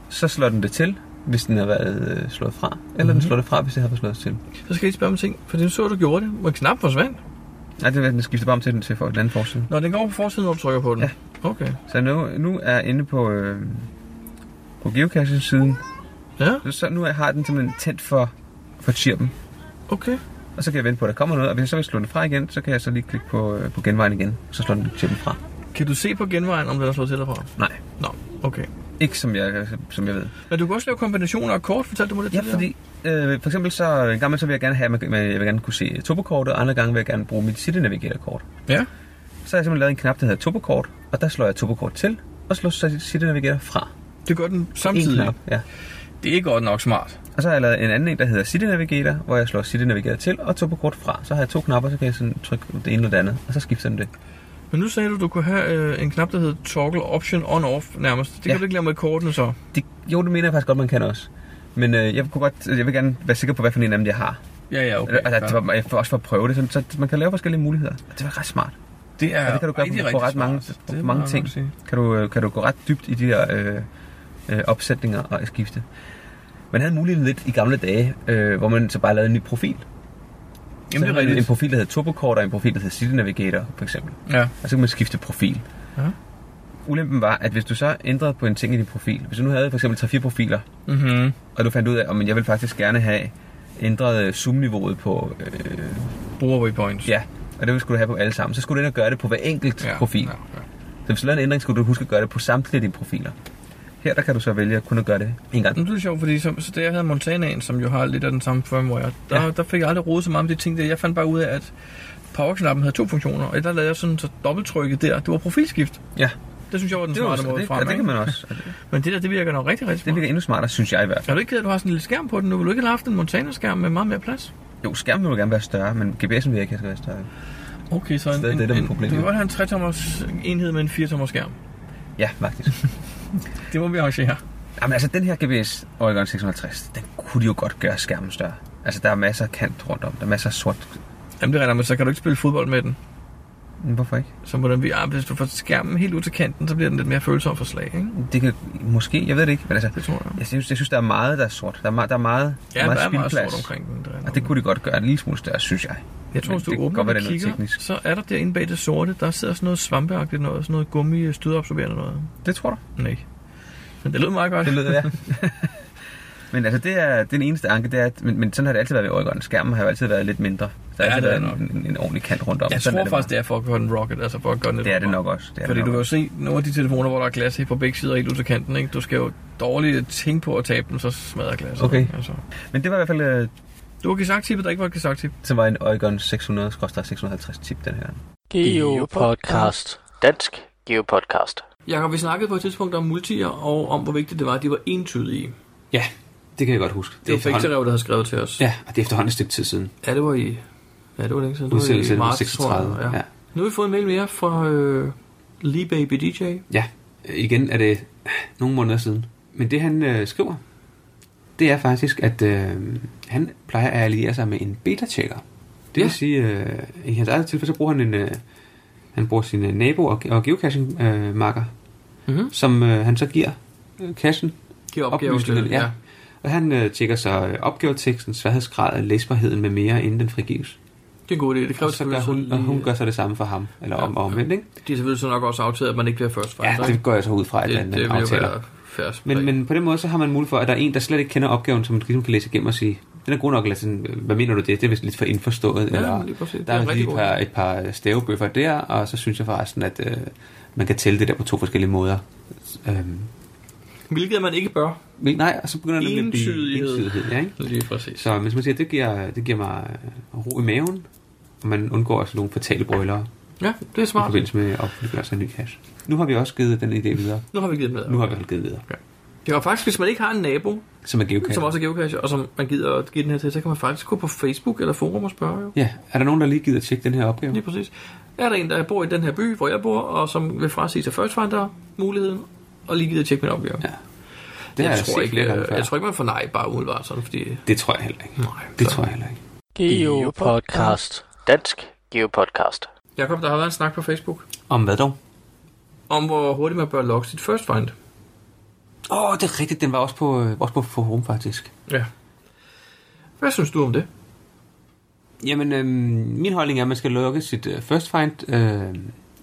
Speaker 1: så slår den det til, hvis den har været øh, slået fra. Eller mm-hmm. den slår det fra, hvis det har været slået til.
Speaker 2: Så skal jeg lige spørge om en ting, for det så, du gjorde det, hvor en knap forsvandt.
Speaker 1: Nej, det er, den skifter bare om til den til for et andet forside.
Speaker 2: Når den går på forsiden, når du trykker på den.
Speaker 1: Ja.
Speaker 2: Okay.
Speaker 1: Så nu, nu er jeg inde på, øh, på geocaching-siden.
Speaker 2: Ja,
Speaker 1: Så, så nu har den simpelthen tændt for, for chirpen.
Speaker 2: okay.
Speaker 1: Og så kan jeg vente på, at der kommer noget. Og hvis jeg så vil slå den fra igen, så kan jeg så lige klikke på, øh, på genvejen igen. Og så slår den chirpen fra.
Speaker 2: Kan du se på genvejen, om den er slået til derfra?
Speaker 1: Nej,
Speaker 2: Nå, okay.
Speaker 1: ikke som jeg, som jeg ved.
Speaker 2: Men du kan også lave kombinationer af kort, fortalte du mig lidt
Speaker 1: Ja,
Speaker 2: tidligere.
Speaker 1: fordi øh, for eksempel så en gang imellem, så vil jeg gerne have, at man- jeg vil gerne kunne se topokortet, og andre gange vil jeg gerne bruge mit City Navigator-kort.
Speaker 2: Ja,
Speaker 1: Så har jeg simpelthen lavet en knap, der hedder topokort, og der slår jeg topokort til, og slår så City Navigator fra.
Speaker 2: det gør den
Speaker 1: En
Speaker 2: samtidig.
Speaker 1: knap, ja.
Speaker 2: Det er godt nok smart.
Speaker 1: Og så har jeg lavet en anden en, der hedder City Navigator, hvor jeg slår City Navigator til og topokort fra. Så har jeg to knapper, så kan jeg sådan trykke det ene eller det andet, og så skifter den det.
Speaker 2: Men nu sagde du, du kunne have øh, en knap, der hedder toggle option on-off nærmest. Det ja.
Speaker 1: Ja.
Speaker 2: kan du ikke lave med kortene så.
Speaker 1: det. Jo, det mener jeg faktisk godt, man kan også. Men øh, jeg, kunne godt, jeg vil gerne være sikker på, hvad for en af dem, jeg har.
Speaker 2: Ja, ja, okay.
Speaker 1: Okay, altså, det var, jeg får også for at prøve det, sådan, så man kan lave forskellige muligheder. Det var ret smart.
Speaker 2: det er
Speaker 1: Ja, det kan du gøre
Speaker 2: rigtig,
Speaker 1: på, på
Speaker 2: rigtig
Speaker 1: ret mange,
Speaker 2: smart.
Speaker 1: på
Speaker 2: Det må
Speaker 1: mange
Speaker 2: jeg
Speaker 1: ting.
Speaker 2: godt sige.
Speaker 1: Kan du, øh, kan du gå ret dybt i de her øh, øh, opsætninger og skifte. Man havde muligheden lidt i gamle dage, øh, hvor man så bare lavede en ny profil.
Speaker 2: Jamen,
Speaker 1: så
Speaker 2: det er
Speaker 1: havde man En
Speaker 2: rigtigt.
Speaker 1: profil, der hed Topokort, og en profil, der hed City Navigator, for eksempel.
Speaker 2: Ja.
Speaker 1: Og så kan man skifte profil.
Speaker 2: Ja.
Speaker 1: Ulempen var, at hvis du så ændrede på en ting i din profil, hvis du nu havde for eksempel 3-4 profiler,
Speaker 2: Mm-hmm.
Speaker 1: og du fandt ud af, at jeg vil faktisk gerne have ændret øh, zoom-niveauet på, øh,
Speaker 2: Bruger waypoints.
Speaker 1: ja, og det skulle du have på alle sammen, så skulle du ind og gøre det på hver enkelt ja, profil. Ja.
Speaker 2: ja.
Speaker 1: Så hvis du lavede en ændring, skulle du huske at gøre det på samtlige af dine profiler. Her der kan du så vælge at kun at gøre det en gang.
Speaker 2: Nu er det sjovt, fordi så, så da jeg havde Montanaen, som jo har lidt af den samme firmware, der, ja. der fik jeg aldrig rodet så meget om de ting der. Jeg fandt bare ud af, at powerknappen havde to funktioner, og der lavede jeg sådan så dobbelttrykket der. Det var profilskift.
Speaker 1: Ja,
Speaker 2: Det synes jeg var den
Speaker 1: det, var,
Speaker 2: smarte
Speaker 1: det,
Speaker 2: måde
Speaker 1: det,
Speaker 2: frem,
Speaker 1: og det
Speaker 2: ikke?
Speaker 1: kan man også.
Speaker 5: Altså,
Speaker 1: Og det-
Speaker 2: Men det der, det virker nok rigtig, rigtig
Speaker 1: Det
Speaker 2: smart.
Speaker 1: virker endnu smartere, synes jeg i hvert fald.
Speaker 2: Er du ikke ked, af, at du har sådan en lille skærm på den nu? Vil du ikke have haft en Montana-skærm med meget mere plads?
Speaker 1: Jo, skærmen vil jo gerne være større, men GPS'en vil jeg ikke have skal være større.
Speaker 2: Okay, så en,
Speaker 5: Stadig
Speaker 2: en,
Speaker 5: det, der er
Speaker 2: en,
Speaker 5: problemet.
Speaker 2: du kan godt have en 3-tommers enhed med en 4-tommers skærm.
Speaker 5: Ja, faktisk.
Speaker 2: *laughs* Det må vi arrangere.
Speaker 5: Jamen altså, den her GBS Oregon 650, den kunne de jo godt gøre skærmen større. Altså, der er masser af kant rundt om. Der er masser af sort.
Speaker 2: Jamen det regner jeg med, så kan du ikke spille fodbold med den.
Speaker 5: Men Hvorfor ikke?
Speaker 2: Så må den blive, ah, hvis du får skærmen helt ud til kanten, så bliver den lidt mere følsom for slag, ikke?
Speaker 5: Det kan måske, jeg ved det ikke, men altså,
Speaker 2: Det tror jeg.
Speaker 5: jeg synes, jeg synes der er meget, der er sort. Der er, meget, der er meget,
Speaker 2: Ja, der er meget
Speaker 5: spildplads.
Speaker 2: stort omkring den. Der
Speaker 5: Og det kunne de godt gøre en lille smule større, synes jeg.
Speaker 2: jeg tror,
Speaker 5: men
Speaker 2: hvis du
Speaker 5: det kan
Speaker 2: åbner
Speaker 5: godt være,
Speaker 2: den og
Speaker 5: det er noget
Speaker 2: kigger,
Speaker 5: teknisk.
Speaker 2: så er der derinde bag det sorte, der sidder sådan noget svampeagtigt noget, sådan noget gummi stødeabsorberende noget.
Speaker 5: Det tror du?
Speaker 2: Nej. Men det lød meget godt.
Speaker 5: Det lyder ja.
Speaker 1: *laughs*
Speaker 5: men altså, det er, det er den eneste anke, det er, at, men, men sådan har det altid været ved Oregon. Skærmen har jo altid været lidt mindre. Der har
Speaker 2: Ja,
Speaker 5: altid
Speaker 2: det er
Speaker 5: været en, en, en, ordentlig kant rundt om.
Speaker 2: Jeg
Speaker 5: Sådan
Speaker 2: tror
Speaker 5: er det
Speaker 2: faktisk,
Speaker 5: bare.
Speaker 2: det er for at gøre den rocket, altså for at gøre den lidt
Speaker 5: det er det
Speaker 2: rundere.
Speaker 5: nok også. Det er
Speaker 2: Fordi
Speaker 5: det
Speaker 2: du kan
Speaker 5: nok.
Speaker 2: jo se nogle af de telefoner, hvor der er glas i på begge sider, helt ud til kanten, ikke? Du skal jo dårligt tænke på at tabe dem, så smadrer glasset.
Speaker 5: Okay.
Speaker 2: Altså.
Speaker 5: Men det var i hvert fald, øh,
Speaker 2: Du har gesagt-tippet, der ikke var et gesagt-tip.
Speaker 5: som var en Oregon 600-650 tip den her.
Speaker 3: Geopodcast. Dansk Geopodcast.
Speaker 2: Jakob, vi snakkede på et tidspunkt om multier, og om hvor vigtigt det var, at de var entydige.
Speaker 1: Ja, det kan jeg godt huske.
Speaker 2: Det var Fekterev, der havde skrevet til os.
Speaker 1: Ja, og det er efterhånden et stykke tid siden.
Speaker 2: ja det var i... Ja, det var længe siden. Det var i
Speaker 1: Udsendelse nummer
Speaker 2: marts,
Speaker 1: 36.
Speaker 2: tror jeg,
Speaker 1: Ja.
Speaker 2: Nu har vi fået en mail mere fra øh, Lee Baby DJ.
Speaker 1: ja, Øh, igen er det øh, nogle måneder siden. Men det han øh, skriver, det er faktisk, at øh, han plejer at alliere sig med en beta-checker. Det vil
Speaker 2: Ja.
Speaker 1: sige, øh, i hans eget tilfælde, så bruger han en... Øh, han bruger sin øh, nabo og, og geocaching-marker, øh, marker,
Speaker 2: Mhm.
Speaker 1: som øh, han så giver øh, cachen
Speaker 2: Giver opgaven
Speaker 1: Oplysningerne,
Speaker 2: til-
Speaker 1: ja.
Speaker 2: ja.
Speaker 1: Og han øh, tjekker så øh, opgaveteksten, sværhedsgrad, læsbarheden med mere, inden den frigives.
Speaker 2: Det er en god idé. Det kræver
Speaker 1: Og, så gør
Speaker 2: selvfølgelig,
Speaker 1: hun, og hun gør så det samme for ham, eller om og omvendt, ikke?
Speaker 2: de er selvfølgelig så nok også aftaget, at man ikke bliver først
Speaker 1: Ja, det går jeg så ud fra, at
Speaker 2: det,
Speaker 1: man
Speaker 2: det vil
Speaker 1: øh,
Speaker 2: jo
Speaker 1: aftaler.
Speaker 2: være færdigt.
Speaker 1: Men, men på den måde, så har man mulighed for, at der er en, der slet ikke kender opgaven, som man ligesom kan læse igennem og sige, den er god nok, eller sådan, hvad mener du det? Det er vist lidt for indforstået.
Speaker 2: Ja,
Speaker 1: eller,
Speaker 2: men lige præcis. Det
Speaker 1: der
Speaker 2: er
Speaker 1: er,
Speaker 2: en rigtig
Speaker 1: lige et
Speaker 2: god
Speaker 1: par,
Speaker 2: idé.
Speaker 1: et par stavebøffer der, og så synes jeg forresten, at øh, man kan tælle det der på to forskellige måder. Øhm,
Speaker 2: Hvilket man ikke bør.
Speaker 1: men nej, og så begynder det nemlig at blive
Speaker 2: Entydighed.
Speaker 1: entydighed. Ja, ikke?
Speaker 2: Lige præcis.
Speaker 1: Så hvis man siger, det giver, det giver mig øh, ro i maven, og man undgår også nogle fatale brøler i
Speaker 2: Ja, det er smart.
Speaker 1: forbindelse med opbyggelse af ny cash. Nu har vi også givet den idé videre.
Speaker 2: Nu har vi givet med.
Speaker 1: Nu har vi også givet videre,
Speaker 2: Ja, og faktisk, hvis man ikke har en nabo,
Speaker 1: som er geocache.
Speaker 2: som også er geocacher, og som man gider at give den her til, så kan man faktisk gå på Facebook eller forum og spørge jo.
Speaker 1: Ja, er der nogen, der lige gider at tjekke den her opgave?
Speaker 2: Lige præcis. Er der en, der bor i den her by, hvor jeg bor, og som vil frasige sig førstfinder muligheden, og lige gider at tjekke min opgave?
Speaker 1: Ja. Det har
Speaker 2: jeg,
Speaker 1: jeg
Speaker 2: tror
Speaker 1: set
Speaker 2: ikke,
Speaker 1: flere gange
Speaker 2: øh,
Speaker 1: før.
Speaker 2: jeg tror ikke, man får nej bare umiddelbart sådan, fordi...
Speaker 1: Det tror jeg heller ikke.
Speaker 2: Nej,
Speaker 1: Det
Speaker 2: så-
Speaker 1: tror jeg heller ikke.
Speaker 3: Geopodcast. Dansk Geopodcast.
Speaker 2: Jakob, der har været en snak på Facebook,
Speaker 1: Om hvad dog?
Speaker 2: om hvor hurtigt man bør logge sit first find.
Speaker 1: Åh, oh, det er rigtigt. Den var også på, øh, også på forum, faktisk.
Speaker 2: Ja. Hvad synes du om det?
Speaker 1: Jamen, øh, min holdning er, at man skal lukke sit øh, first find øh,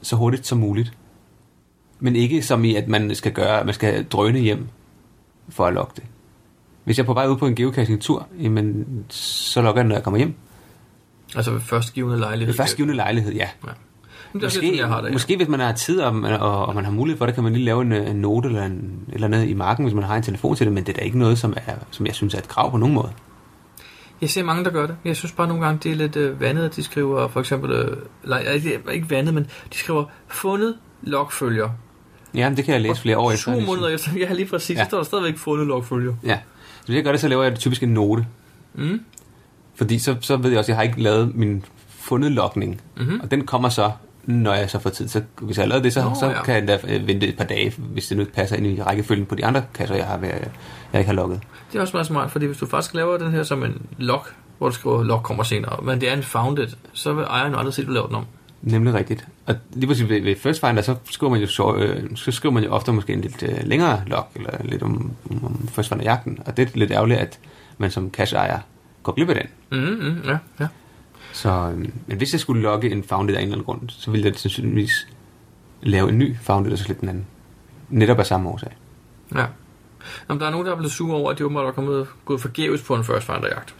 Speaker 1: så hurtigt som muligt. Men ikke som i, at man skal gøre, at man skal drøne hjem for at logge det. Hvis jeg er på vej ud på en geocaching-tur, jamen, så logger jeg, den, når jeg kommer hjem.
Speaker 2: Altså ved førstgivende lejlighed.
Speaker 1: Ved først givende lejlighed, ja.
Speaker 2: Ja. Men det er
Speaker 1: Måske,
Speaker 2: lidt sådan, jeg har det. ja.
Speaker 1: måske hvis man har tid og, man- og, og man har mulighed for det, kan man lige lave en, øh, en note eller en, et eller andet i marken, hvis man har en telefon til det, men det er da ikke noget, som, er, som jeg synes er et krav på nogen måde.
Speaker 2: Jeg ser mange, der gør det. Jeg synes bare nogle gange, det er lidt øh, vandet, at de skriver for eksempel... Øh, nej, ikke- ikke vandet, men de skriver fundet logfølger.
Speaker 1: Ja, men det kan jeg læse flere år efter.
Speaker 2: To måneder efter, jeg har lige præcis, ja.
Speaker 1: Ja.
Speaker 2: så står der stadigvæk fundet logfølger.
Speaker 1: Ja. Så hvis jeg gør det, så laver jeg typisk en note.
Speaker 2: Mm.
Speaker 1: Fordi så, så ved jeg også, at jeg har ikke lavet min fundet lokning. Mm-hmm. Og den kommer så, når jeg så får tid. Så hvis jeg har lavet det, så,
Speaker 2: Mhm. Nå,
Speaker 1: Nå, så
Speaker 2: ja.
Speaker 1: ja. kan jeg da øh, vente et par dage, hvis det nu ikke passer ind i rækkefølgen på de andre kasser, jeg, har, ved- jeg ikke har lukket.
Speaker 2: Det er også meget smart, fordi hvis du faktisk laver den her som en log, hvor du skriver log kommer senere, men det er en founded, så vil ejeren jo aldrig se, at du laver den om.
Speaker 1: Nemlig rigtigt. Og lige præcis ved, ved First Finder, så skriver man jo, så, øh, så skriver man jo ofte måske en lidt øh, længere log, eller lidt om, om, om First Finder-jagten. Og det er lidt ærgerligt, at man som cash-ejer går glip af den.
Speaker 2: Mm, mm, ja, ja.
Speaker 1: Så øh, men hvis jeg skulle logge en founded af en eller anden grund, så ville jeg sandsynligvis lave en ny founded, og så slet den anden. Netop af samme årsag.
Speaker 2: ja. Jamen, der er nogen, der er blevet sure over, at de åbenbart var kommet, gået forgæves på en first finder jagt.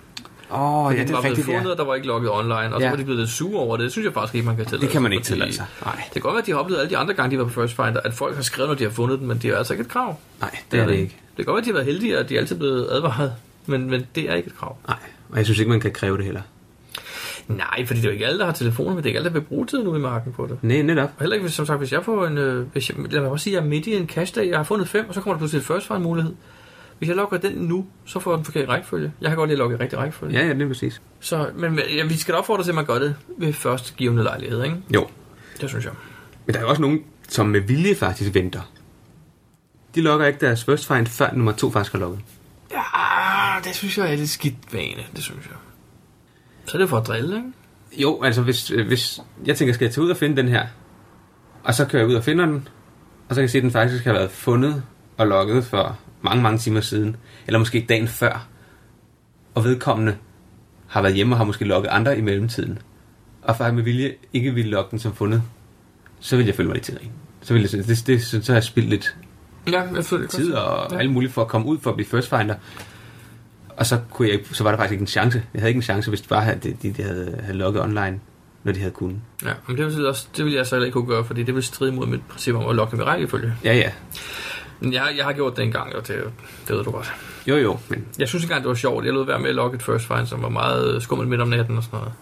Speaker 1: Åh, oh, ja, det
Speaker 2: var
Speaker 1: er
Speaker 2: blevet
Speaker 1: rigtigt, ja.
Speaker 2: fundet, og der var ikke logget online, og så
Speaker 1: Ja.
Speaker 2: var de blevet lidt sure over det. Det synes jeg faktisk ikke, man kan tillade
Speaker 1: Det kan man
Speaker 2: sig,
Speaker 1: ikke
Speaker 2: fordi
Speaker 1: tillade sig. Nej,
Speaker 2: Det kan godt være, at de har oplevet alle de andre gange, de var på First Finder, at folk har skrevet, når de har fundet den, men det er altså ikke et krav.
Speaker 1: nej, det er det ikke.
Speaker 2: Det kan godt være, at de har været heldige, og de er altid blevet advaret, men, men det er ikke et krav.
Speaker 1: Nej, og jeg synes ikke, man kan kræve det heller.
Speaker 2: Nej, fordi det er jo ikke alle, der har telefoner, men det er ikke alle, der vil bruge tiden ude i marken på det.
Speaker 1: Nej, netop.
Speaker 2: Og heller ikke, hvis, som sagt, hvis jeg får en... Øh, hvis jeg, lad mig bare sige, at jeg er midt i en cash-dag, jeg har fundet fem, og så kommer der pludselig et first find mulighed. Hvis jeg logger den nu, så får jeg den forkerte rækkefølge. Jeg kan godt lide at logge i rigtig rækkefølge.
Speaker 1: Ja, ja, det er præcis.
Speaker 2: Så, men ja, vi skal da opfordre til, at man gør det ved første givende lejlighed, ikke?
Speaker 1: Jo,
Speaker 2: Det synes jeg.
Speaker 1: men der er jo også nogen, som med vilje faktisk venter. De logger ikke deres first find, før nummer to faktisk har logget.
Speaker 2: Ja, Ah, det synes jeg er lidt skidt vane, det synes jeg. Så er det for at drille, ikke?
Speaker 1: Jo, altså hvis, øh, hvis jeg tænker, skal jeg tage ud og finde den her? Og så kører jeg ud og finder den, og så kan jeg se, at den faktisk har været fundet og logget for mange, mange timer siden. Eller måske dagen før. Og vedkommende har været hjemme og har måske logget andre i mellemtiden. Og faktisk med vilje ikke ville logge den som fundet. Så vil jeg føle mig lidt til Så, vil jeg, synes- det, det, så, så har jeg spildt lidt
Speaker 2: Ja, jeg føler det godt.
Speaker 1: tid og alt muligt for at komme ud for at blive first finder. Og så, kunne jeg, så var der faktisk ikke en chance. Jeg havde ikke en chance, hvis det bare havde, de, de, de havde, havde logget online, når de havde kunnet.
Speaker 2: Ja, men det vil, også, det vil jeg så heller ikke kunne gøre, fordi det vil stride mod mit princip om at lokke med rækkefølge.
Speaker 1: Ja, ja.
Speaker 2: Men jeg, jeg har gjort det engang, og det, det ved du godt.
Speaker 1: Jo, jo. Men
Speaker 2: Jeg synes engang, det var sjovt. Jeg lod være med at lokke et first find, som var meget øh, skummelt midt om natten og sådan noget.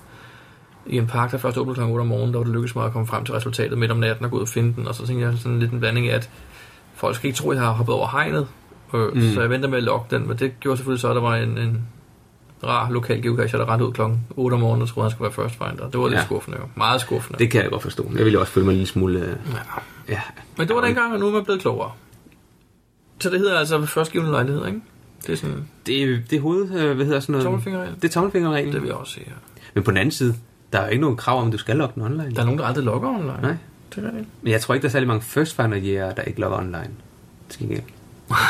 Speaker 2: I en park, der først åbnede kl. 8 om morgenen, der var det lykkedes mig at komme frem til resultatet midt om natten og gå ud og finde den. Og så tænkte jeg sådan lidt en blanding af, at folk skal ikke tro, at jeg har hoppet over hegnet. Øh, mm. Så jeg venter med at lokke den, men det gjorde selvfølgelig så, at der var en, en rar lokal geocacher, der rendte ud kl. 8 om morgenen og troede, han skulle være first finder. Det var lidt
Speaker 1: Ja.
Speaker 2: ja. skuffende jo. Meget skuffende.
Speaker 1: det kan jeg godt forstå. Jeg ville også føle mig en lille smule... øh,
Speaker 2: Ja.
Speaker 1: Ja.
Speaker 2: Men det var dengang, og nu er man blevet klogere. Så det hedder altså ved førstgivende lejlighed, ikke? Det er sådan,
Speaker 1: Det, det er hoved... øh, Hvad hedder sådan
Speaker 2: Øhm.
Speaker 1: noget?
Speaker 2: Tommelfingerreglen.
Speaker 1: Det er tommelfingerreglen.
Speaker 2: det vil jeg også sige. ja.
Speaker 1: Men på den anden side, der er jo ikke nogen krav om, at du skal logge den online.
Speaker 2: Der er nogen, der aldrig logger online.
Speaker 1: Nej.
Speaker 2: Det er det.
Speaker 1: Men jeg tror ikke, der er særlig mange first finder jæger, der ikke logger online. Til gengæld.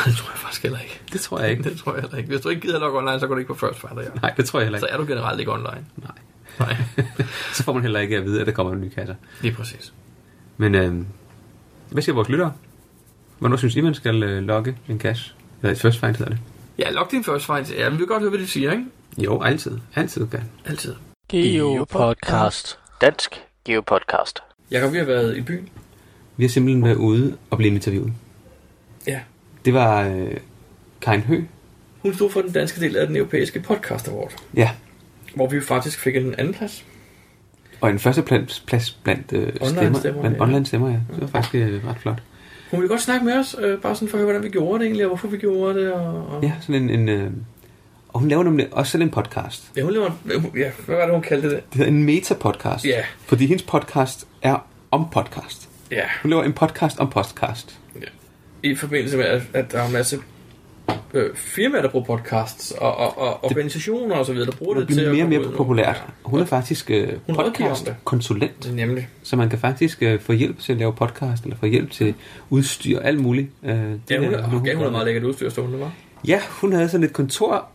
Speaker 2: det tror jeg faktisk heller ikke.
Speaker 1: Det tror jeg ikke.
Speaker 2: Det tror jeg heller ikke. Hvis du ikke gider at logge online, så går du ikke på first finder, ja.
Speaker 1: Nej, det tror jeg heller
Speaker 2: Så
Speaker 1: ikke.
Speaker 2: er du generelt ikke online.
Speaker 1: Nej.
Speaker 2: Nej,
Speaker 1: *laughs* så får man heller ikke at vide, at der kommer en ny kasse.
Speaker 2: lige præcis.
Speaker 1: Men øh, hvad siger vores lyttere? Hvornår synes I, man skal øh, logge en cash? Eller et first find hedder det.
Speaker 2: Ja, log din first find. Ja, men vi kan godt høre, hvad de siger, ikke?
Speaker 1: Jo, altid. Altid kan.
Speaker 2: Altid.
Speaker 3: Geopodcast. Dansk Geopodcast.
Speaker 2: Jakob, vi har været i byen.
Speaker 1: Vi har simpelthen været ude og blive interviewet.
Speaker 2: Ja.
Speaker 1: Det var øh, Karin Hø.
Speaker 2: Hun stod for den danske del af den europæiske podcast award,
Speaker 1: Ja.
Speaker 2: hvor vi jo faktisk fik en anden plads.
Speaker 1: Og en første plads, plads blandt øh, stemmer.
Speaker 2: stemmer,
Speaker 1: blandt
Speaker 2: ja.
Speaker 1: online stemmer, ja. Det var faktisk øh, ret flot.
Speaker 2: Hun ville godt snakke med os, øh, bare sådan for at høre, hvordan vi gjorde det egentlig, og hvorfor vi gjorde det. Og, og...
Speaker 1: Ja, sådan en... en øh, og hun laver nemlig også selv en podcast.
Speaker 2: Ja, hun laver, en- ja, hvad var det, hun kaldte det?
Speaker 1: Det hedder en meta-podcast.
Speaker 2: Ja.
Speaker 1: Fordi hendes podcast er om podcast.
Speaker 2: Ja,
Speaker 1: Hun laver en podcast om podcast.
Speaker 2: i forbindelse med, at, at der er en masse øh, firmaer, der bruger podcasts, og, og, og organisationer og så videre, der bruger
Speaker 1: Hun
Speaker 2: det til
Speaker 1: bliver mere og
Speaker 2: at komme
Speaker 1: mere
Speaker 2: ud
Speaker 1: populært.
Speaker 2: nu.
Speaker 1: Hun er faktisk øh,
Speaker 2: Hun rådgiver om det.
Speaker 1: podcast-konsulent.
Speaker 2: Ja, nemlig.
Speaker 1: Så man kan faktisk øh, få hjælp til at lave podcast, eller få hjælp til udstyr, alt muligt. Øh, det
Speaker 2: Mm. Ja, hun,
Speaker 1: er-
Speaker 2: er, ja, hun er meget lækkert udstyr stående, var.
Speaker 1: Ja, hun havde sådan et kontor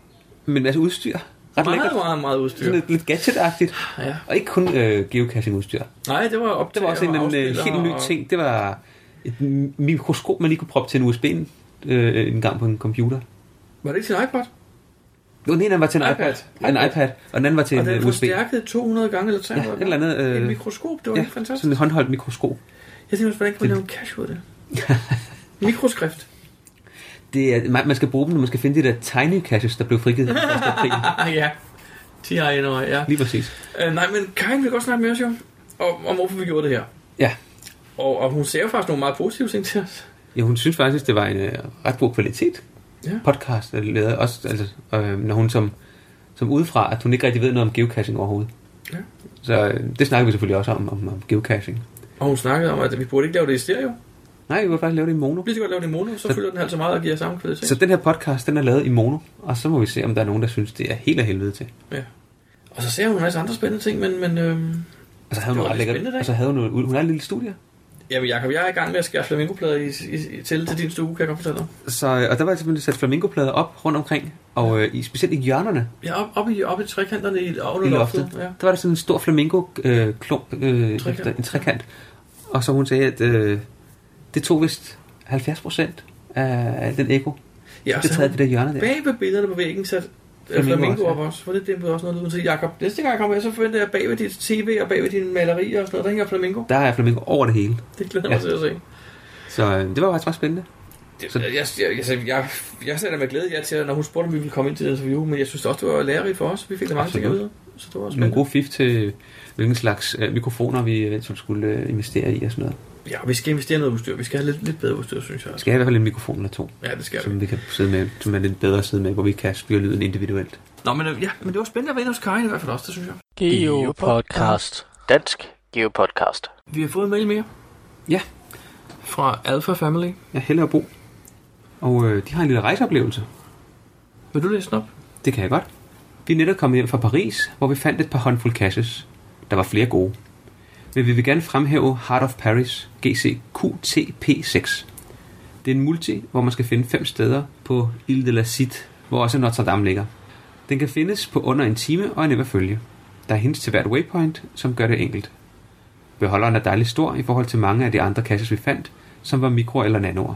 Speaker 1: med en masse udstyr. Ret
Speaker 2: Meget,
Speaker 1: lækkert.
Speaker 2: meget, meget udstyr.
Speaker 1: Sådan lidt, lidt gadget-agtigt.
Speaker 2: Ja.
Speaker 1: Og ikke kun øh, geocaching-udstyr.
Speaker 2: Nej, det var op
Speaker 1: Der var også en, en øh, helt ny ting. Det var et mikroskop, man lige kunne proppe til en USB øh, en gang på en computer.
Speaker 2: Var det ikke sin iPod?
Speaker 1: Jo, den ene af dem var til en iPad.
Speaker 2: iPad.
Speaker 1: En iPad. Og den anden var til
Speaker 2: Og
Speaker 1: en
Speaker 2: den
Speaker 1: øh, USB.
Speaker 2: forstærkede 200 gange eller
Speaker 1: Ja,
Speaker 2: 300
Speaker 1: et eller andet,
Speaker 2: gange.
Speaker 1: øh,
Speaker 2: Et mikroskop, det var
Speaker 1: Ja,
Speaker 2: helt fantastisk.
Speaker 1: sådan et håndholdt mikroskop.
Speaker 2: Jeg tænkte også, hvordan kan man lave en cash
Speaker 1: *laughs*
Speaker 2: ud af det? Mikroskrift.
Speaker 1: Det er, man, man skal bruge dem, når man skal finde de der tiny caches, der blev frigivet den 1.
Speaker 2: *laughs*
Speaker 1: april.
Speaker 2: Ah, ja. De har endnu, ja.
Speaker 1: Lige præcis.
Speaker 2: Øh, nej, men Karin vil godt snakke med os jo, om, om hvorfor vi gjorde det her.
Speaker 1: Ja.
Speaker 2: Og, og hun ser jo faktisk nogle meget positive ting til os.
Speaker 1: Ja, hun synes faktisk, det var en øh, ret god kvalitet
Speaker 2: Ja.
Speaker 1: podcast, der lavede også, altså, øh, når hun som, som udefra, at hun ikke rigtig ved noget om geocaching overhovedet.
Speaker 2: Ja.
Speaker 1: Så øh, det snakker vi selvfølgelig også om, om, om geocaching.
Speaker 2: Og hun snakkede om, at vi burde ikke lave det i stereo.
Speaker 1: Nej, vi var faktisk lave det i mono.
Speaker 2: Vi skal godt lave det i mono, så,
Speaker 1: Så-
Speaker 2: fylder den altså meget og giver samme kvalitet.
Speaker 1: Så den her podcast, den er lavet i mono, og så må vi se, om der er nogen, der synes, det er helt af helvede til.
Speaker 2: Og så ser hun en masse andre spændende ting, men... men øhm,
Speaker 1: Og så Altså, havde
Speaker 2: Det
Speaker 1: hun
Speaker 2: var
Speaker 1: ret
Speaker 2: lidt
Speaker 1: lækkert,
Speaker 2: spændende,
Speaker 1: og så havde hun, noget- hun har en lille studie.
Speaker 2: jamen Jacob, jeg er i gang med at skære flamingoplader i, i, i, til, til din stue, kan jeg godt fortælle dig.
Speaker 1: Så, øh, og der var simpelthen sat flamingoplader op rundt omkring, og øh, i, specielt i hjørnerne,
Speaker 2: Ja, op, op, i, op i trekanterne i, oven
Speaker 1: i
Speaker 2: i
Speaker 1: loftet,
Speaker 2: loftet. Ja.
Speaker 1: der var der sådan en stor flamingo-klump, øh,
Speaker 2: Trekant.
Speaker 1: en trekant. Og så hun sagde, at øh, det tog vist 70 procent af al den ekko.
Speaker 2: ja,
Speaker 1: Ja, det
Speaker 2: så
Speaker 1: taget
Speaker 2: havde
Speaker 1: det der hjørne der.
Speaker 2: bag ved billederne på væggen sat
Speaker 1: Flamingo
Speaker 2: flamingo, flamingo
Speaker 1: også, ja.
Speaker 2: op også, for det dæmpede også noget ud til Jacob. Næste gang jeg kommer her, så forventer jeg bag ved dit tv og bag ved dine malerier og sådan noget, der hænger flamingo.
Speaker 1: Der er flamingo over det hele.
Speaker 2: Det glæder jeg mig
Speaker 1: Ja.
Speaker 2: til at se.
Speaker 1: Så øh, det var faktisk ret spændende.
Speaker 2: Det,
Speaker 1: Så-
Speaker 2: jeg, jeg, jeg, jeg, jeg sagde da med glæde ja til, når hun spurgte, om vi ville komme ind til det interview, men jeg synes også, det var lærerigt for os. Vi fik da mange ting
Speaker 1: Absolut.
Speaker 2: ud af, så det var
Speaker 1: Nogle
Speaker 2: spændende.
Speaker 1: gode fif til, hvilken slags øh, mikrofoner vi eventuelt skulle øh, investere i og sådan noget.
Speaker 2: Ja, vi skal investere i noget udstyr. Vi skal have lidt, lidt bedre udstyr, synes jeg.
Speaker 1: Skal jeg i hvert fald en mikrofon eller to,
Speaker 2: Ja, det skal vi.
Speaker 1: som vi kan sidde med, som er lidt bedre at sidde med, hvor vi kan styre lyden individuelt.
Speaker 2: Nå, men, øh, ja, men det var spændende at være inde hos Karin i hvert fald også, det synes jeg.
Speaker 3: Geopodcast. Dansk Geopodcast.
Speaker 2: Vi har fået en mail mere
Speaker 1: Ja,
Speaker 2: fra Alpha Family.
Speaker 1: jeg hælder bo. Og øh, de har en lille rejseoplevelse.
Speaker 2: Vil du læse den op?
Speaker 1: Det kan jeg godt. Vi er netop kommet hjem fra Paris, hvor vi fandt et par håndfuld caches. Der var flere gode. Men vi vil gerne fremhæve Heart of Paris GCQTP6. Det er en multi, hvor man skal finde fem steder på Ile de la Cite, hvor også Notre Dame ligger. Den kan findes på under en time og er nem at følge. Der er hints til hvert waypoint, som gør det enkelt. Beholderen er dejligt stor i forhold til mange af de andre caches, vi fandt, som var mikro- eller nanoer.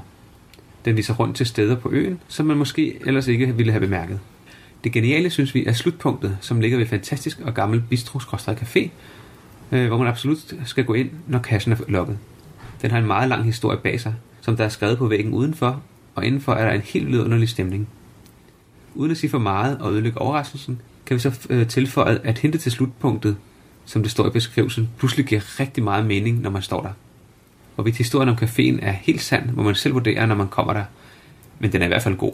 Speaker 1: Den viser rundt til steder på øen, som man måske ellers ikke ville have bemærket. Det geniale, synes vi, er slutpunktet, som ligger ved et fantastisk og gammel bistro café, øh, hvor man absolut skal gå ind, når kassen er lukket. Den har en meget lang historie bag sig, som der er skrevet på væggen udenfor, og indenfor er der en helt vidunderlig stemning. Uden at sige for meget og ødelægge overraskelsen, kan vi så øh, tilføje, at hente til slutpunktet, som det står i beskrivelsen, pludselig giver rigtig meget mening, når man står der. Hvorvidt historien om caféen er helt sand, må man selv vurdere, når man kommer der. Men den er i hvert fald god.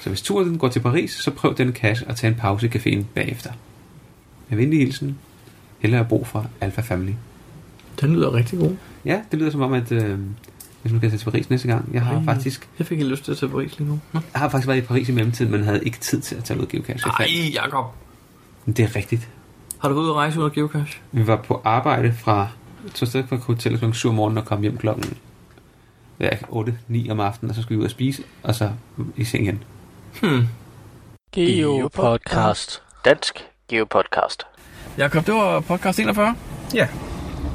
Speaker 1: Så hvis turen går til Paris, så prøv den cash og tag en pause i caféen bagefter. Med venlig hilsen, Hella og Bo fra Alpha Family.
Speaker 2: Den lyder rigtig god.
Speaker 1: Ja, det lyder som om, at øh, hvis man kan tage til Paris næste gang. Jeg har, faktisk,
Speaker 2: Jeg fik helt lyst til at tage Paris lige nu. Nå.
Speaker 1: jeg har faktisk været i Paris i mellemtiden, men havde ikke tid til at tage ud geocache. Jeg
Speaker 2: Ej,
Speaker 1: fandt-
Speaker 2: Jacob.
Speaker 1: Men det er rigtigt.
Speaker 2: Har du været ude at rejse under geocache?
Speaker 1: Vi var på arbejde fra tog sted fra hotellet kl. 7 om morgenen og kom hjem klokken ja, 8-9 om aftenen, og så skulle vi ud og spise, og så i seng igen.
Speaker 2: Hmm.
Speaker 3: Geopodcast. Dansk Geopodcast.
Speaker 2: Jakob, det var podcast 41.
Speaker 5: Ja.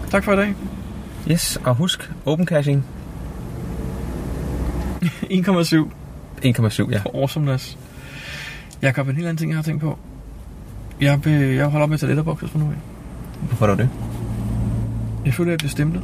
Speaker 2: Tak for i dag. *laughs*
Speaker 5: Yes, og husk, open caching
Speaker 2: 1,7.
Speaker 5: 1,7, ja.
Speaker 2: Awesomeness. Jakob, en helt anden ting, jeg har tænkt på. Jeg, vil, jeg holder op med at tage letterboxes for nu af.
Speaker 5: Hvorfor er det?
Speaker 2: Jeg føler, at jeg bliver stemplet.